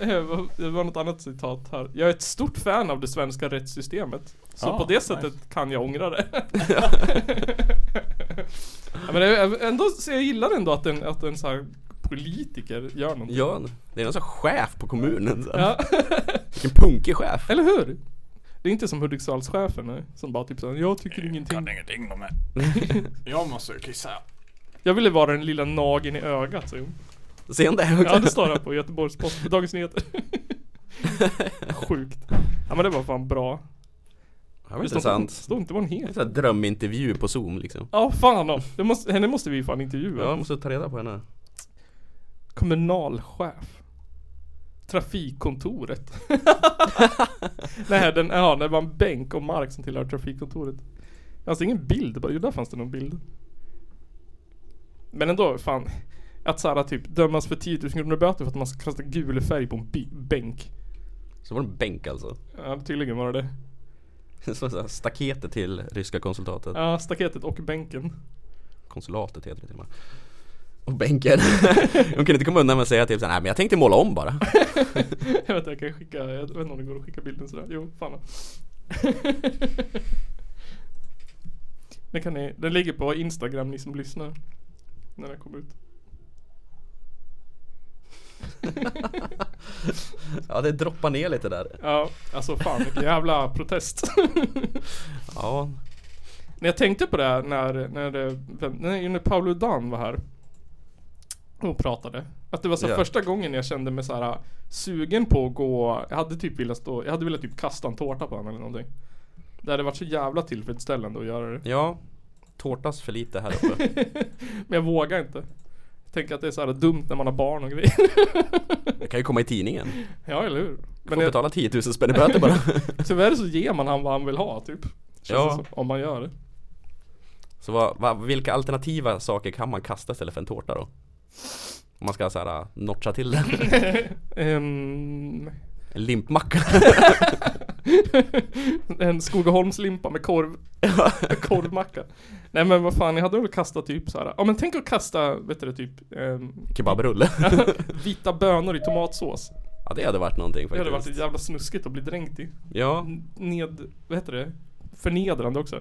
Eh, vad- Det var något annat citat här. Jag är ett stort fan av det svenska rättssystemet. Så
Ja,
på det sättet kan jag ångra det. ja, men jag- ändå, så jag gillar ändå att en, att en så här politiker gör någonting.
Ja, det är någon sån chef på kommunen. Så.
Ja.
Vilken punkig chef.
Eller hur? Det är inte som Hudiksvallschefen nej, som bara typ såhär, jag tycker ingenting.
ingenting om det. Jag måste kissa.
Jag ville vara den lilla nageln i ögat, så.
Ser han det?
Ja det står här på Göteborgs-Posten, Dagens Nyheter. Sjukt. Ja men det var fan bra.
Det var
Det står inte-
intressant.
står inte vad hon
En
heter.
sån här drömintervju på zoom liksom.
Ja fan då. Det måste, henne måste vi fan intervjua.
Ja, jag måste ta reda på henne.
Kommunalchef. Trafikkontoret. Nej, den, ja, det var en bänk och mark som tillhör trafikkontoret. Alltså ingen bild, bara, jo där fanns det någon bild. Men ändå, fan. Att såhär typ dömas för 10 000 kronor i böter för att man ska kasta gul färg på en bi- bänk.
Så var det en bänk alltså.
Ja, tydligen var det det.
Så så här staketet till ryska konsultatet.
Ja, staketet och bänken.
Konsulatet heter det till och med. Och bänken. Hon kunde inte komma undan med att säga typ såhär, nej men jag tänkte måla om bara.
Jag vet inte, jag kan skicka, jag vet inte om det går att skicka bilden sådär. Jo, fan. den kan ni, den ligger på Instagram ni som lyssnar. När den kommer ut.
Ja det droppar ner lite där.
Ja, alltså fan vilken jävla protest.
Ja.
när jag tänkte på det här när, när, det, vem, nej, när Paolo Dan var här. Och pratade. Att det var så här
Ja.
första gången jag kände mig så här äh, sugen på att gå, jag hade typ velat stå, jag hade velat typ kasta en tårta på honom eller någonting. Det hade varit så jävla tillfredsställande att göra det.
Ja. Tårtas för lite här uppe.
Men jag vågar inte. Jag tänker att det är så här dumt när man har barn och grejer.
Det kan ju komma i tidningen.
ja, eller hur?
Får
Men jag,
betala 10 000 spänn i böter bara.
tyvärr så ger man han vad han vill ha typ. Känns
Ja.
det som, om man gör det.
Så vad, vad, vilka alternativa saker kan man kasta istället för en tårta då? Om man ska såhär notcha till det.
Ehm,
En limpmacka.
en Skogaholmslimpa med korv. korvmacka. Nej men vad fan, jag hade väl kastat typ så här. Ja men tänk att kasta, vet du det, typ ehm,
Kebabrulle.
vita bönor i tomatsås.
Ja det hade varit någonting
Det
faktiskt.
hade varit jävla snuskigt att bli dränkt i.
Ja,
Ned, vad heter det? Förnedrande också.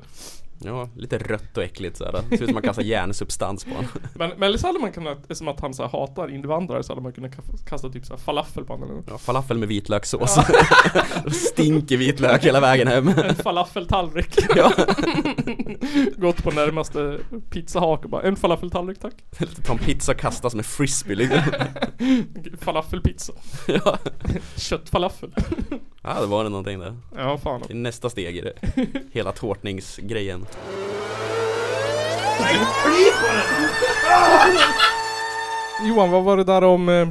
ja, lite rött och äckligt såhär. Ser ut som man kastar järnsubstans på honom.
Men, men eller så hade man kunnat, eftersom att han så här hatar invandrare så hade man kunnat ka- kasta typ så här falafel på honom eller något.
Ja, falafel med vitlökssås. Stinker vitlök hela vägen hem.
En falafeltallrik.
ja,
Gått på närmaste pizzahak och bara en falafeltallrik tack.
ta en pizza och kasta som en frisbee liksom.
Falafelpizza.
ja.
Köttfalafel.
ja, det var det någonting där.
Ja fan.
Det är nästa steg i det. Hela tårtningsgrejen.
Johan vad var det där om eh,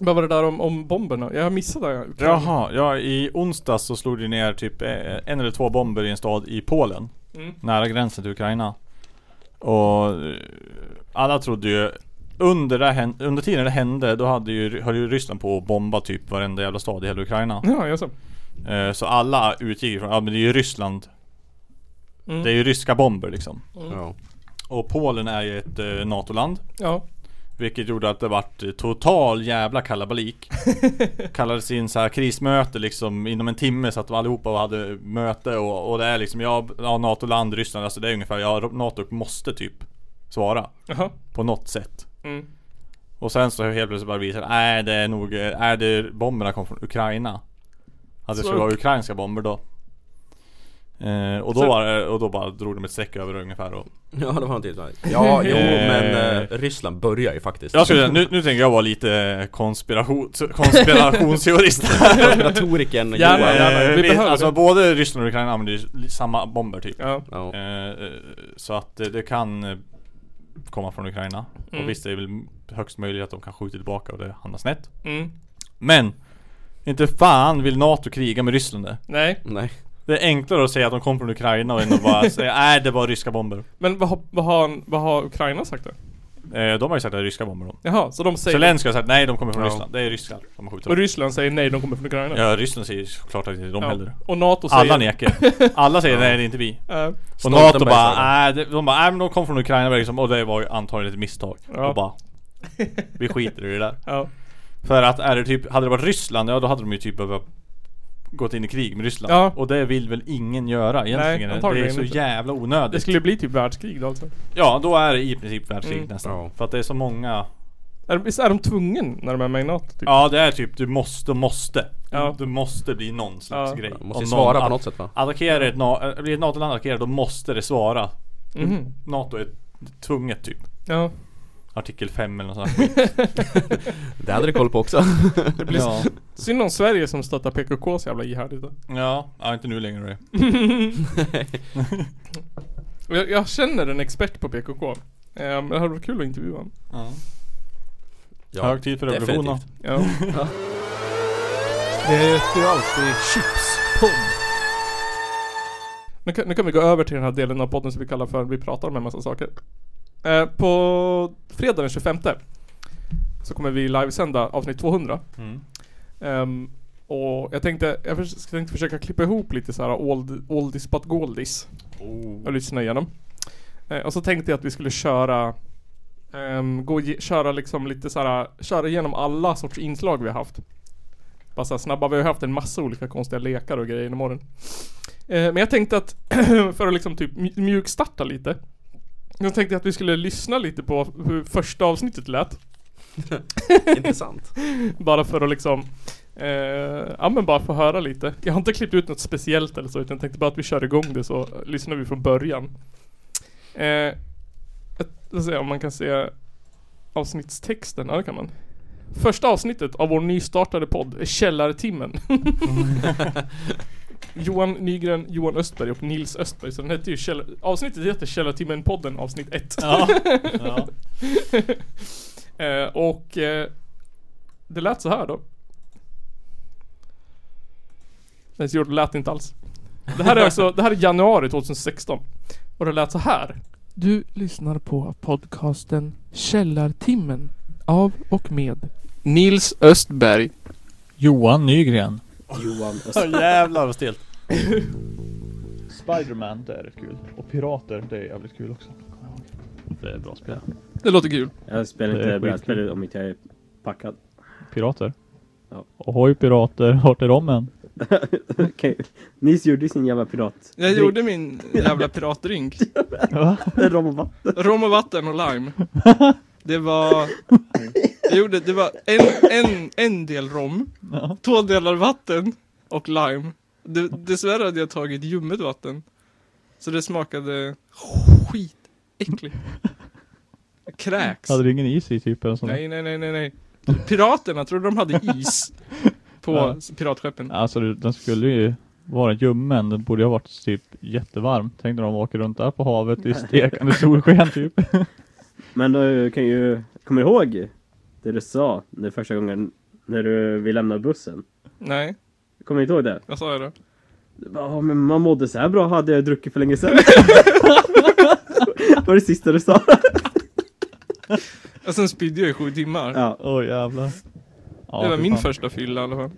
vad var det där om, om bomberna? Jag missade det.
Jaha, ja i onsdags så slog det ner typ eh, en eller två bomber i en stad i Polen.
Mm.
Nära gränsen till Ukraina. Och eh, alla trodde ju under, det hän- under tiden det hände då hade ju, höll ju Ryssland på att bomba typ varenda jävla stad i hela Ukraina.
Ja, jag så.
Eh, Så alla utgick ifrån, ja men det är ju Ryssland.
Mm.
Det är ju ryska bomber liksom.
Ja.
Och Polen är ju ett eh, NATO-land.
Ja.
Vilket gjorde att det vart eh, total jävla kalabalik Kallades in så här krismöte liksom inom en timme så att de allihopa hade möte och, och det är liksom ja, ja NATO-land, Ryssland alltså det är ungefär ja NATO måste typ svara
Jaha.
På något sätt
Mm.
Och sen så helt plötsligt bara visade nej det är nog, eh, är det bomberna kom från Ukraina Att det
Så-
skulle vara ukrainska bomber då eh, och, då
Så-
var, det- och då bara drog de ett streck över det ungefär och
Ja det var någonting sånt. Ja, jo men eh, Ryssland börjar ju faktiskt
Jag skulle, säga, nu, nu tänker jag vara lite eh, konspiration, konspirationsteorist
Konspiratoriken, Johan.
Eh,
Gärna, gärna. Vi
vi-
behöver
Alltså
det.
både Ryssland och Ukraina använder ju li- samma bomber typ
Ja.
Eh, eh, Så att eh, det kan eh, komma från Ukraina
Mm.
Och visst det är väl högst möjligt att de kan skjuta tillbaka och det hamnar snett
Mm.
Men Inte fan vill NATO kriga med Ryssland det
Nej.
Nej
Det är enklare att säga att de kom från Ukraina och än att bara säga nej det var ryska bomber
Men vad, har- vad, har, vad har Ukraina sagt då?
Eh, De har ju sagt att det är ryska bomber de
Jaha, så de säger...
Zelenskyj har sagt nej de kommer från
Ja.
Ryssland, det är ryskar de har skjutit
Och Ryssland säger nej, de kommer från Ukraina.
Ja Ryssland säger såklart att det är de
Ja.
heller
Och NATO säger-
Alla nekar Alla säger nej det är inte vi
Ja.
Och
Stoltenberg
NATO bara
sa det.
nej det- de bara nej men de kom från Ukraina liksom, och det var ju antagligen ett misstag
Ja.
Och bara Vi skiter i det där
Ja.
För att är det typ, hade det varit Ryssland ja då hade de ju typ behövt Gått in i krig med Ryssland
Ja.
Och det vill väl ingen göra egentligen Det är
antagligen
så
inte.
jävla onödigt
Det skulle bli typ världskrig då alltså.
Ja då är det i princip världskrig
Mm.
nästan För att det är så många
Är, visst är de tvungen när de är med i NATO? Typ?
Ja det är typ du måste, måste
Ja.
Du måste bli någon slags
Ja.
grej
Ja,
måste
Om
svara
någon
på
att-
något sätt, va?
Attackerar ett, na- äh, blir ett NATO-land attackerat då måste det svara
Mhm.
NATO är tvunget typ
Ja.
Artikel 5 eller något sånt här skit.
Det hade du koll på också
Det blir
ja.
synd om Sverige som stöttar PKK så jävla ihärdigt då.
ja, ja inte nu längre
Och jag, jag känner en expert på PKK. Eh, Men det hade varit kul att intervjua honom.
Ja. Hög tid för revolution då.
definitivt.
Ja.
Det heter ju alltid chipspodd.
Nu kan, nu kan vi gå över till den här delen av podden som vi kallar för Vi pratar om en massa saker. Eh, på fredag den 25 så kommer vi livesända avsnitt 200.
Mm.
Ehm, och jag tänkte, jag förs- tänkte försöka klippa ihop lite så här old, oldies but goldies.
Oh.
Och lyssna igenom. Eh, och så tänkte jag att vi skulle köra ehm, gå ge, köra liksom lite så här, köra igenom alla sorts inslag vi har haft. Bara så här snabba, vi har ju haft en massa olika konstiga lekar och grejer i morgon. Eh, men jag tänkte att, för att liksom typ mj- mjukstarta lite. Jag tänkte att vi skulle lyssna lite på hur första avsnittet lät.
Intressant.
bara för att liksom eh, ja men bara få höra lite. Jag har inte klippt ut något speciellt eller så utan jag tänkte bara att vi kör igång det så lyssnar vi från början. Eh, jag ska se om man kan se avsnittstexten, ja det kan man. Första avsnittet av vår nystartade podd är Källartimmen. Johan Nygren, Johan Östberg och Nils Östberg. Så den heter ju Käll... Avsnittet heter Källartimmen-podden avsnitt 1.
Ja. Ja.
eh, och eh, det lät så här då. Nej, så gjorde- det lät inte alls. Det här är alltså, det här är januari 2016. Och det lät så här. Du lyssnar på podcasten Källartimmen av och med Nils Östberg.
Johan Nygren.
Johan
jävlar vad stelt. Spiderman, det är rätt kul. Och Pirater, det är jävligt kul också. Det är bra spel.
Det låter kul.
Jag spelar
Det
inte
är
brädspel om inte jag är packad.
Pirater?
Ja.
Ohoj pirater, vart är de än?
Okej, Nils gjorde sin jävla pirat.
Jag gjorde min jävla piratdrink.
Rom och vatten.
Rom och vatten och lime. Det var... Jag gjorde, det var en, en, en del rom,
Ja.
två delar vatten och lime. De, dessvärre hade jag tagit ljummet vatten. Så det smakade skitäckligt. Kräks.
Hade du ingen is i typ eller sånt?
Nej, nej, nej, nej, nej. Piraterna trodde de hade is på
Ja.
piratskeppen.
Alltså det- den skulle ju vara ljummen, den borde ju ha varit typ jättevarm. Tänk när de åker runt där på havet i stekande solsken typ.
Men du kan ju, kommer du ihåg det du sa den första gången när du vill lämna bussen?
Nej,
Kommer du inte ihåg det?
vad sa jag då?
Du bara, "Ja, men man mådde så här bra hade jag druckit för länge sedan. var det sista du sa?
Och sen spydde jag i sju timmar.
Ja.
Åh jävlar. Ja,
det var
fy
min
fan.
första fylla i alla fall.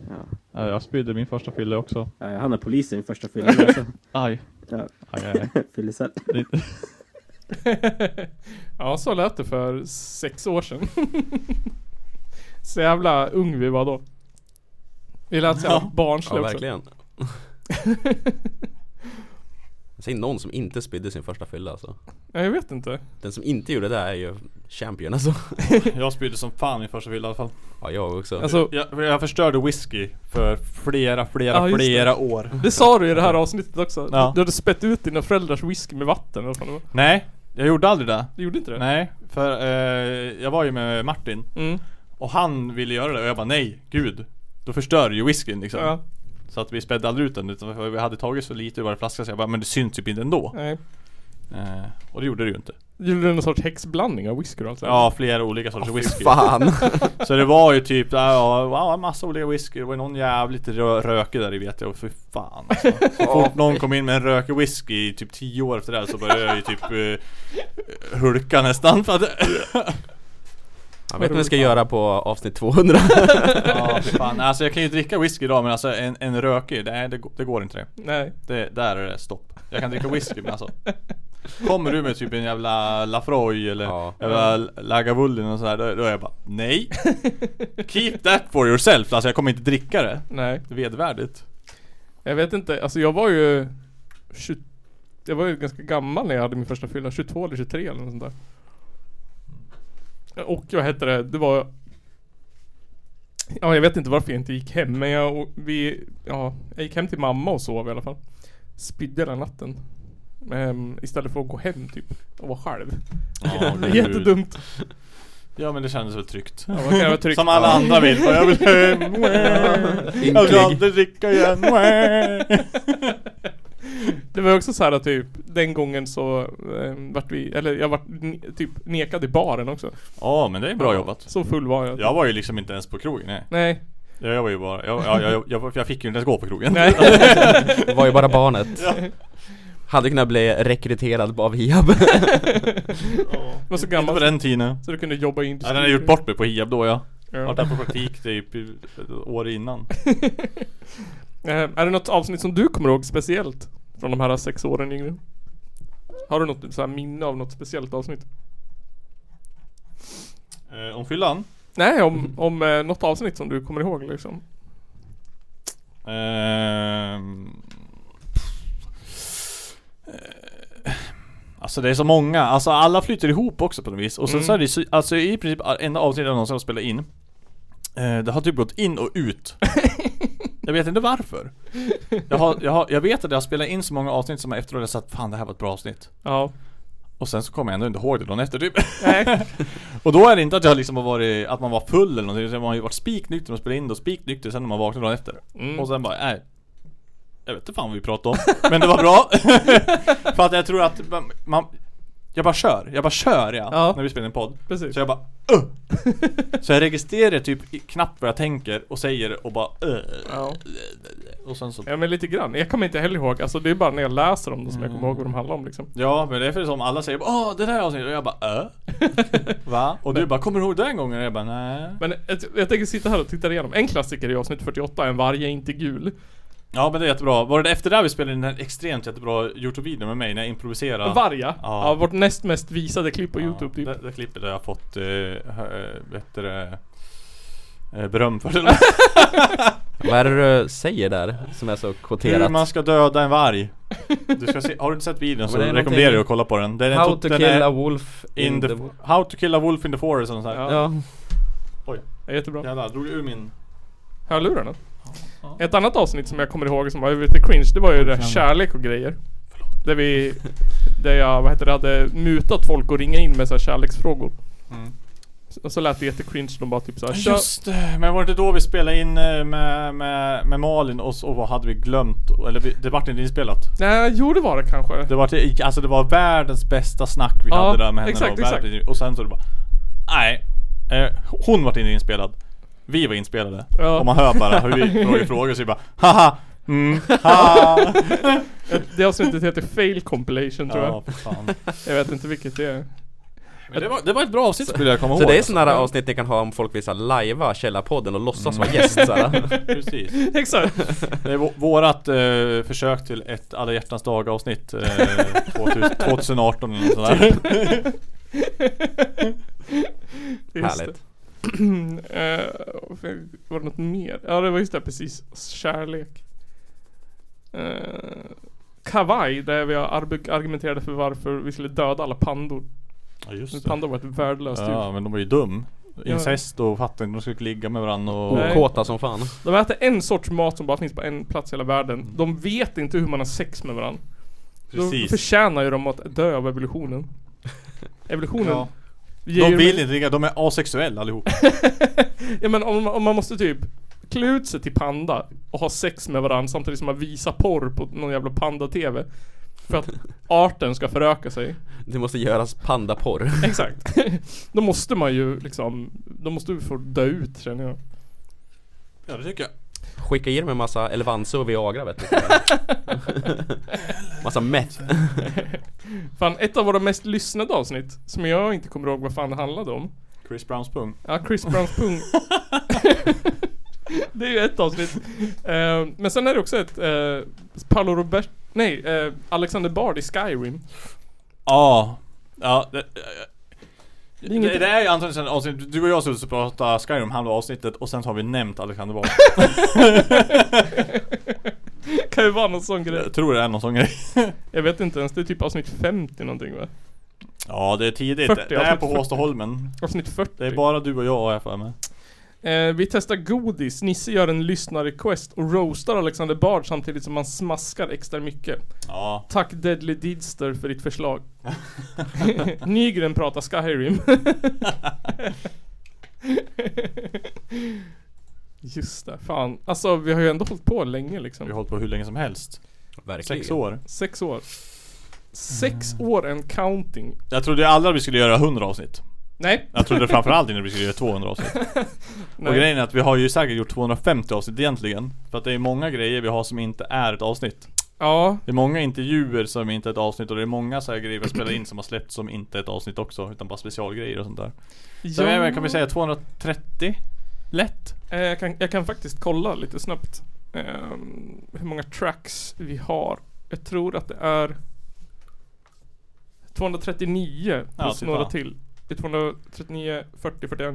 Ja, jag spydde min första fylla också.
Ja, jag hann polisen i första fyllan också.
Aj.
Ja.
Aj, aj, aj.
Fyllecell.
Ja, så lät det för sex år sedan. så jävla ung vi var då. Vi lät så jävla barnsliga
Ja,
också.
verkligen. Jag säger någon som inte spydde sin första fylla alltså.
Ja, jag vet inte.
Den som inte gjorde det är ju champion alltså.
Jag spydde som fan min första fylla i alla fall.
Ja, jag också.
Alltså-
jag, jag förstörde whisky för flera, flera,
Ja, just det.
flera år.
Det sa du i det här avsnittet också.
Ja.
Du hade spett ut dina föräldrars whisky med vatten eller vad fan det var.
Nej, jag gjorde aldrig det.
Du gjorde inte det?
Nej, för eh, jag var ju med Martin.
Mm.
Och han ville göra det och jag bara nej, gud. Då förstör du ju whiskyn liksom.
Ja.
Så att vi spädde aldrig ut den utan vi hade tagit så lite ur varje flaska så jag bara men det syns typ inte ändå.
Nej.
Eh, och det gjorde det ju inte.
Gjorde du någon sorts häxblandning av whisky alltså? och allt sånt?
Ja, flera olika sorters
Åh, fy
whisky.
fan.
så det var ju typ, ja, ja, wow, massa olika whisky. Det var ju någon jävligt rö- rökig där, det vet jag. Och Fy fan alltså. Så fort någon kom in med en rökig whisky i typ 10 år efter det här så började jag ju typ eh, hulka nästan för att...
Jag vet inte vad vi ska göra på avsnitt 200.
ja, fy fan. Alltså jag kan ju dricka whisky idag men alltså en, en rökig, nej det, går- det går inte det.
Nej.
Det, där är det stopp. Jag kan dricka whisky men alltså Kommer du med typ en jävla Lafroy eller jävla Lagavulin och sådär, då, då är jag bara nej. Keep that for yourself, alltså jag kommer inte dricka det.
Nej.
Vedvärdigt.
Jag vet inte, alltså jag var ju 20, Jag var ju ganska gammal när jag hade min första fylla, 22 eller 23 eller något sånt där Och vad hette det, det var Ja jag vet inte varför jag inte gick hem men jag, och vi, ja, jag gick hem till mamma och sov i alla fall Spydde hela natten Ehm, Istället för att gå hem typ och vara själv
Ja, gud.
Jättedumt
Ja men det kändes väl tryggt.
Ja, man kan vara trygg.
Som alla andra vill, bara, jag vill hem. Jag vill aldrig dricka igen.
Det var också så här att typ den gången så eh, vart vi, eller jag vart ne- typ nekad i baren också.
Ja men det är bra jobbat.
Så full var jag.
Jag var ju liksom inte ens på krogen nej.
Nej.
Ja, Jag var ju bara, jag, jag, jag, jag, jag fick ju inte ens gå på krogen.
Nej.
Det var ju bara barnet.
Ja.
Hade kunnat bli rekryterad av Hiab.
var så gammal.
Inte på den tiden.
Så du kunde jobba i industrin.
Ja, den har gjort bort mig på Hiab då ja.
Ja.
Vart där på praktik typ i- ett år innan.
Eh, är det något avsnitt som du kommer ihåg speciellt? Från de här sex åren Yngve? Har du något så här minne av något speciellt avsnitt?
Eh, om fyllan?
Nej, om, om eh, något avsnitt som du kommer ihåg liksom.
Ehm. Eh, Alltså det är så många, alltså alla flyter ihop också på något vis och sen
Mm.
så är det så, alltså i princip enda avsnittet jag någonsin har spelat in eh, Det har typ gått in och ut Jag vet inte varför jag, har, jag, har, jag vet att jag har spelat in så många avsnitt som jag efteråt har sagt Fan det här var ett bra avsnitt
Ja.
Och sen så kommer jag ändå inte ihåg det dagen efter typ Och då är det inte att jag liksom har varit, att man var full eller någonting utan man har ju varit spiknykter och spelat in det och spiknykter sen när man vaknar dagen efter
Mm.
Och sen bara, nej Jag vet inte fan vad vi pratade om Men det var bra För att jag tror att man, man Jag bara kör, jag bara kör ja, När vi spelar en podd
Precis.
Så jag bara "Ugh." Så jag registrerar typ i- knappt vad jag tänker och säger och bara "Ugh." Och sen så
Ja men lite grann. Jag kommer inte heller ihåg. Alltså det är bara när jag läser om det som jag kommer
Mm.
ihåg vad de handlar om liksom.
Ja, men det är för som alla säger Åh, det där avsnittet! Och jag bara äh? Va? Och du bara, kommer du ihåg den gången? Och jag bara, nej
Men ett, jag tänker sitta här och titta igenom. En klassiker i avsnitt 48, En varg är inte gul.
Ja men det är jättebra. Var det efter det här vi spelade in den här extremt jättebra Youtube-videon med mig när jag improviserade?
En varg ja.
Ja.
ja. Vårt näst mest visade klipp på Youtube typ.
Det, det klippet har jag fått, eh, hö- eh, vad heter det? eh, beröm för.
Vad är det du säger där som är så kvoterat?
Hur man ska döda en varg. Du ska se, har du inte sett videon så
Men det är
rekommenderar
någonting-
jag att kolla på den. den är
How
tot-
to
den
kill
är
a wolf in the wo-
How to kill a wolf in the forest och sånt här.
Ja.
Oj.
Jättebra.
Jävlar, drog du ur min...
Hörlurarna. Ett annat avsnitt som jag kommer ihåg som var lite cringe, det var ju det här kärlek och grejer. Där vi, där jag, vad heter det, hade mutat folk och ringa in med så här kärleksfrågor.
Mm.
Och så lät det jättecringe, de bara typ såhär
Just det, men var det inte då vi spelade in eh, med, med, med Malin och, så, och vad hade vi glömt? Eller vi, det vart inte inspelat?
Nej, jo det var det kanske.
Det var, alltså det var världens bästa snack vi
Ja,
hade där med henne
exakt,
och, världens- och sen så det bara Nej eh, Hon var inte inspelad Vi var inspelade
Ja.
Och man hör bara hur vi frågar frågor så vi bara Haha mm, ha.
Det avsnittet heter Fail Compilation tror
Ja,
jag.
för fan.
Jag vet inte vilket det är.
Men det var- det var ett bra avsnitt,
Så-
skulle jag komma
så
ihåg,
det är
alltså.
sådana där
Ja.
avsnitt ni kan ha om folk vill så här lajva Källarpodden och låtsas vara
Mm.
gäst såhär.
Precis.
Exakt.
Det är vå- vårat eh, försök till ett alla hjärtans dag avsnitt eh, 2000, 2018 eller något sådär.
Just
Härligt.
det. Eh, var det något mer? Ja det var just det, precis. Kärlek. Eh, kavaj, där vi arg- argumenterade för varför vi skulle döda alla pandor.
Ja, just
Men Pandor var ett värdelöst
Ja
djur.
men de var ju dum. Incest och fattar inte, de skulle ligga med varandra och...
Nej.
Okåta som fan.
De äter en sorts mat som bara finns på en plats i hela världen. De vet inte hur man har sex med varandra. Då
Mm. Precis.
förtjänar ju de att dö av evolutionen. Evolutionen
Ja.
ger
De
ju-
vill inte ligga, de är asexuella allihopa.
Ja men om, om man måste typ klä ut sig till panda och ha sex med varandra samtidigt som man visar porr på någon jävla panda-tv. För att arten ska föröka sig.
Det måste göras pandaporr.
Exakt. Då måste man ju liksom, då måste du få dö ut känner jag.
Ja det tycker jag.
Skicka in med massa Elvanse och Viagra vet du. massa meth.
Fan, ett av våra mest lyssnade avsnitt, som jag inte kommer ihåg vad fan det handlade om.
Chris Browns pung.
Ja, Chris Browns pung. det är ju ett avsnitt. Eh, men sen är det också ett eh, Paolo Robert... Nej, eh, Alexander Bard i Skyrim.
Ja. Ja det,
Det
det,
är inget-
det, är ju antagligen sen avsnitt, du och jag har suttit och pratat Skyrim halva avsnittet och sen har vi nämnt Alexander Bard.
kan ju vara någon sån grej.
jag tror det är någon sån grej.
Jag vet inte ens, det är typ avsnitt 50 någonting va?
Ja det är tidigt.
40,
det är
avsnitt
på
40.
Håstaholmen.
Avsnitt 40.
Det är bara du och jag har jag för mig.
Eh, vi testar godis, Nisse gör en lyssnarrequest och roastar Alexander Bard samtidigt som man smaskar extra mycket.
Ja.
Tack Deadly Deedster för ditt förslag. Nygren pratar Skyrim. Just det, fan. Alltså vi har ju ändå hållit på länge liksom.
Vi har Mm. hållit på hur länge som helst.
Verkligen.
Sex år.
Sex år. Sex år and counting.
Jag trodde aldrig vi skulle göra 100 avsnitt.
Nej.
Jag trodde framförallt inte vi skulle göra 200 avsnitt.
Nej.
Och grejen är att vi har ju säkert gjort 250 avsnitt egentligen. För att det är många grejer vi har som inte är ett avsnitt.
Ja.
Det är många intervjuer som inte är ett avsnitt och det är många så här grejer vi spelar in som har släppts som inte är ett avsnitt också. Utan bara specialgrejer och sånt där. Så
Ja.
jag, kan vi säga 230? Lätt.
Eh, Jag kan, jag kan faktiskt kolla lite snabbt ehm, hur många tracks vi har. Jag tror att det är 239
Ja,
plus
fy
några
fan.
till. Det är 239, 40, 41,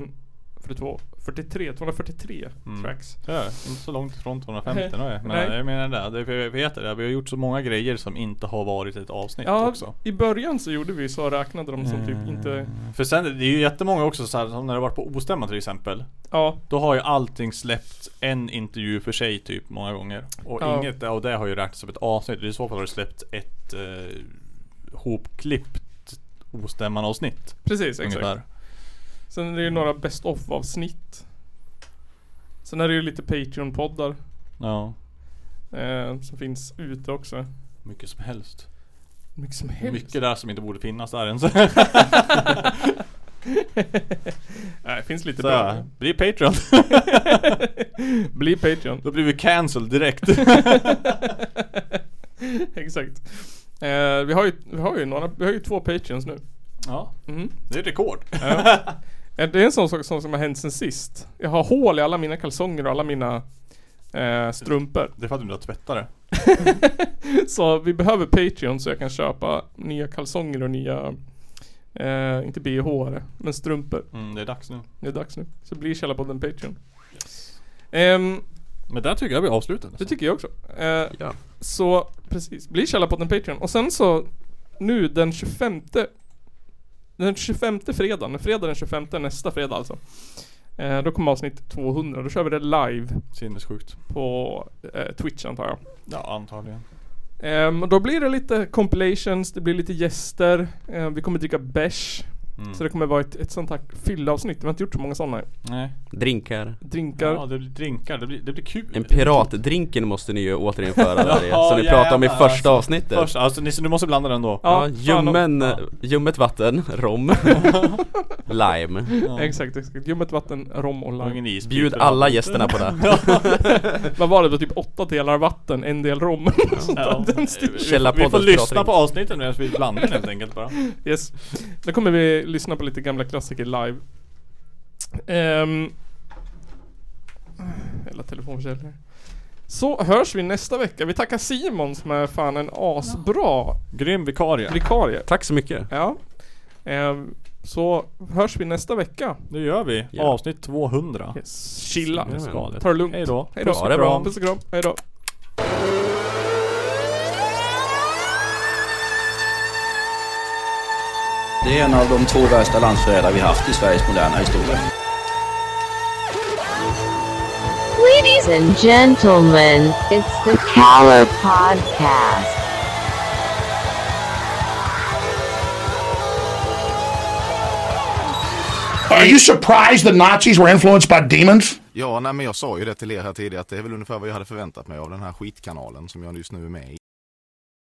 42, 43, 243
Mm.
tracks.
Ja, inte så långt ifrån 250 nu är. Men
Nej.
jag menar det. det är för jag vet det. Vi har gjort så många grejer som inte har varit ett avsnitt
Ja,
också.
i början så gjorde vi så räknade de som
Eh.
typ inte...
För sen, det är ju jättemånga också så här, som när det varit på ostämma till exempel
Ja.
Då har ju allting släppts en intervju för sig typ många gånger Och
Ja.
inget av det har ju räknats som ett avsnitt I så fall har det släppts ett eh, hopklippt ostämman avsnitt
Precis, exakt. Sen är det ju några best of avsnitt. Sen är det ju lite Patreon-poddar
Ja,
eh, som finns ute också.
mycket som helst
Mycket som helst.
Mycket där som inte borde finnas där ens
Nej, det finns lite
Så,
bra.
Bli Patreon
Bli Patreon.
Då blir vi cancelled direkt
Exakt. Eh, vi, har ju, vi har ju några, vi har ju två Patreons nu.
Ja,
Mhm.
det är rekord
Ja. Eh, det är en sån sak som, som har hänt sen sist. Jag har hål i alla mina kalsonger och alla mina eh, strumpor.
Det är för att du inte har tvättat det
Så vi behöver Patreon så jag kan köpa nya kalsonger och nya, eh, inte bh men strumpor.
mm, Det är dags nu
Det är dags nu. Så blir Källarpodden Patreon. Ehm,
Men där tycker jag vi avslutar
Det
nästan.
tycker jag också. Eh,
Ja.
Så precis, bli Källarpodden Patreon. Och sen så nu den 25 Den 25 fredagen, fredag den 25 nästa fredag alltså. Eh, då kommer avsnitt 200, då kör vi det live
Sinnessjukt
på eh, Twitch antar jag.
Ja, antagligen
Ehm, och då blir det lite compilations, det blir lite gäster, eh, vi kommer dricka bärs.
Mm.
Så det kommer vara ett, ett sånt här fyllavsnitt, vi har inte gjort så många sådana.
Nej
Drinkar.
Drinkar.
Ja, det blir drinkar, det blir, det blir kul
En piratdrinken måste ni ju återinföra där i, som ni
jävlar,
pratade om i
alltså.
första avsnittet.
Först, alltså Nisse, du måste blanda den då
Ja,
fan,
ljummen, ljummet vatten, rom. Lime.
Ja. Exakt, exakt. Ljummet vatten, rom och
Och ingen
lime.
is.
Bjud alla gästerna på det.
Ja. Vad var det då? Typ åtta delar vatten, en del rom. eller sånt där.
Ja.
Den stilen.
Vi, vi får lyssna på avsnitten medan vi blandar helt enkelt bara.
Yes. Då kommer vi lyssna på lite gamla klassiker live. Ehm. Hela telefonförsäljare. Så hörs vi nästa vecka. Vi tackar Simon som är fan en asbra
Grym vikarie.
vikarie.
Tack så mycket.
Ja. Ehm, så hörs vi nästa vecka.
Nu gör vi
Ja.
avsnitt 200.
Yes. Chilla.
Ska det.
Ta det lugnt.
Hej då.
Hej då.
Puss och kram.
Puss och kram. Hej då.
Det är en av de två värsta landsförrädare vi haft i Sveriges moderna historia.
Ladies and gentlemen, it's the Caller Podcast.
Are you surprised the Nazis were influenced by demons?
Ja, nej, men jag sa ju det till er här tidigare att det är väl ungefär vad jag hade förväntat mig av den här skitkanalen som jag just nu är med i.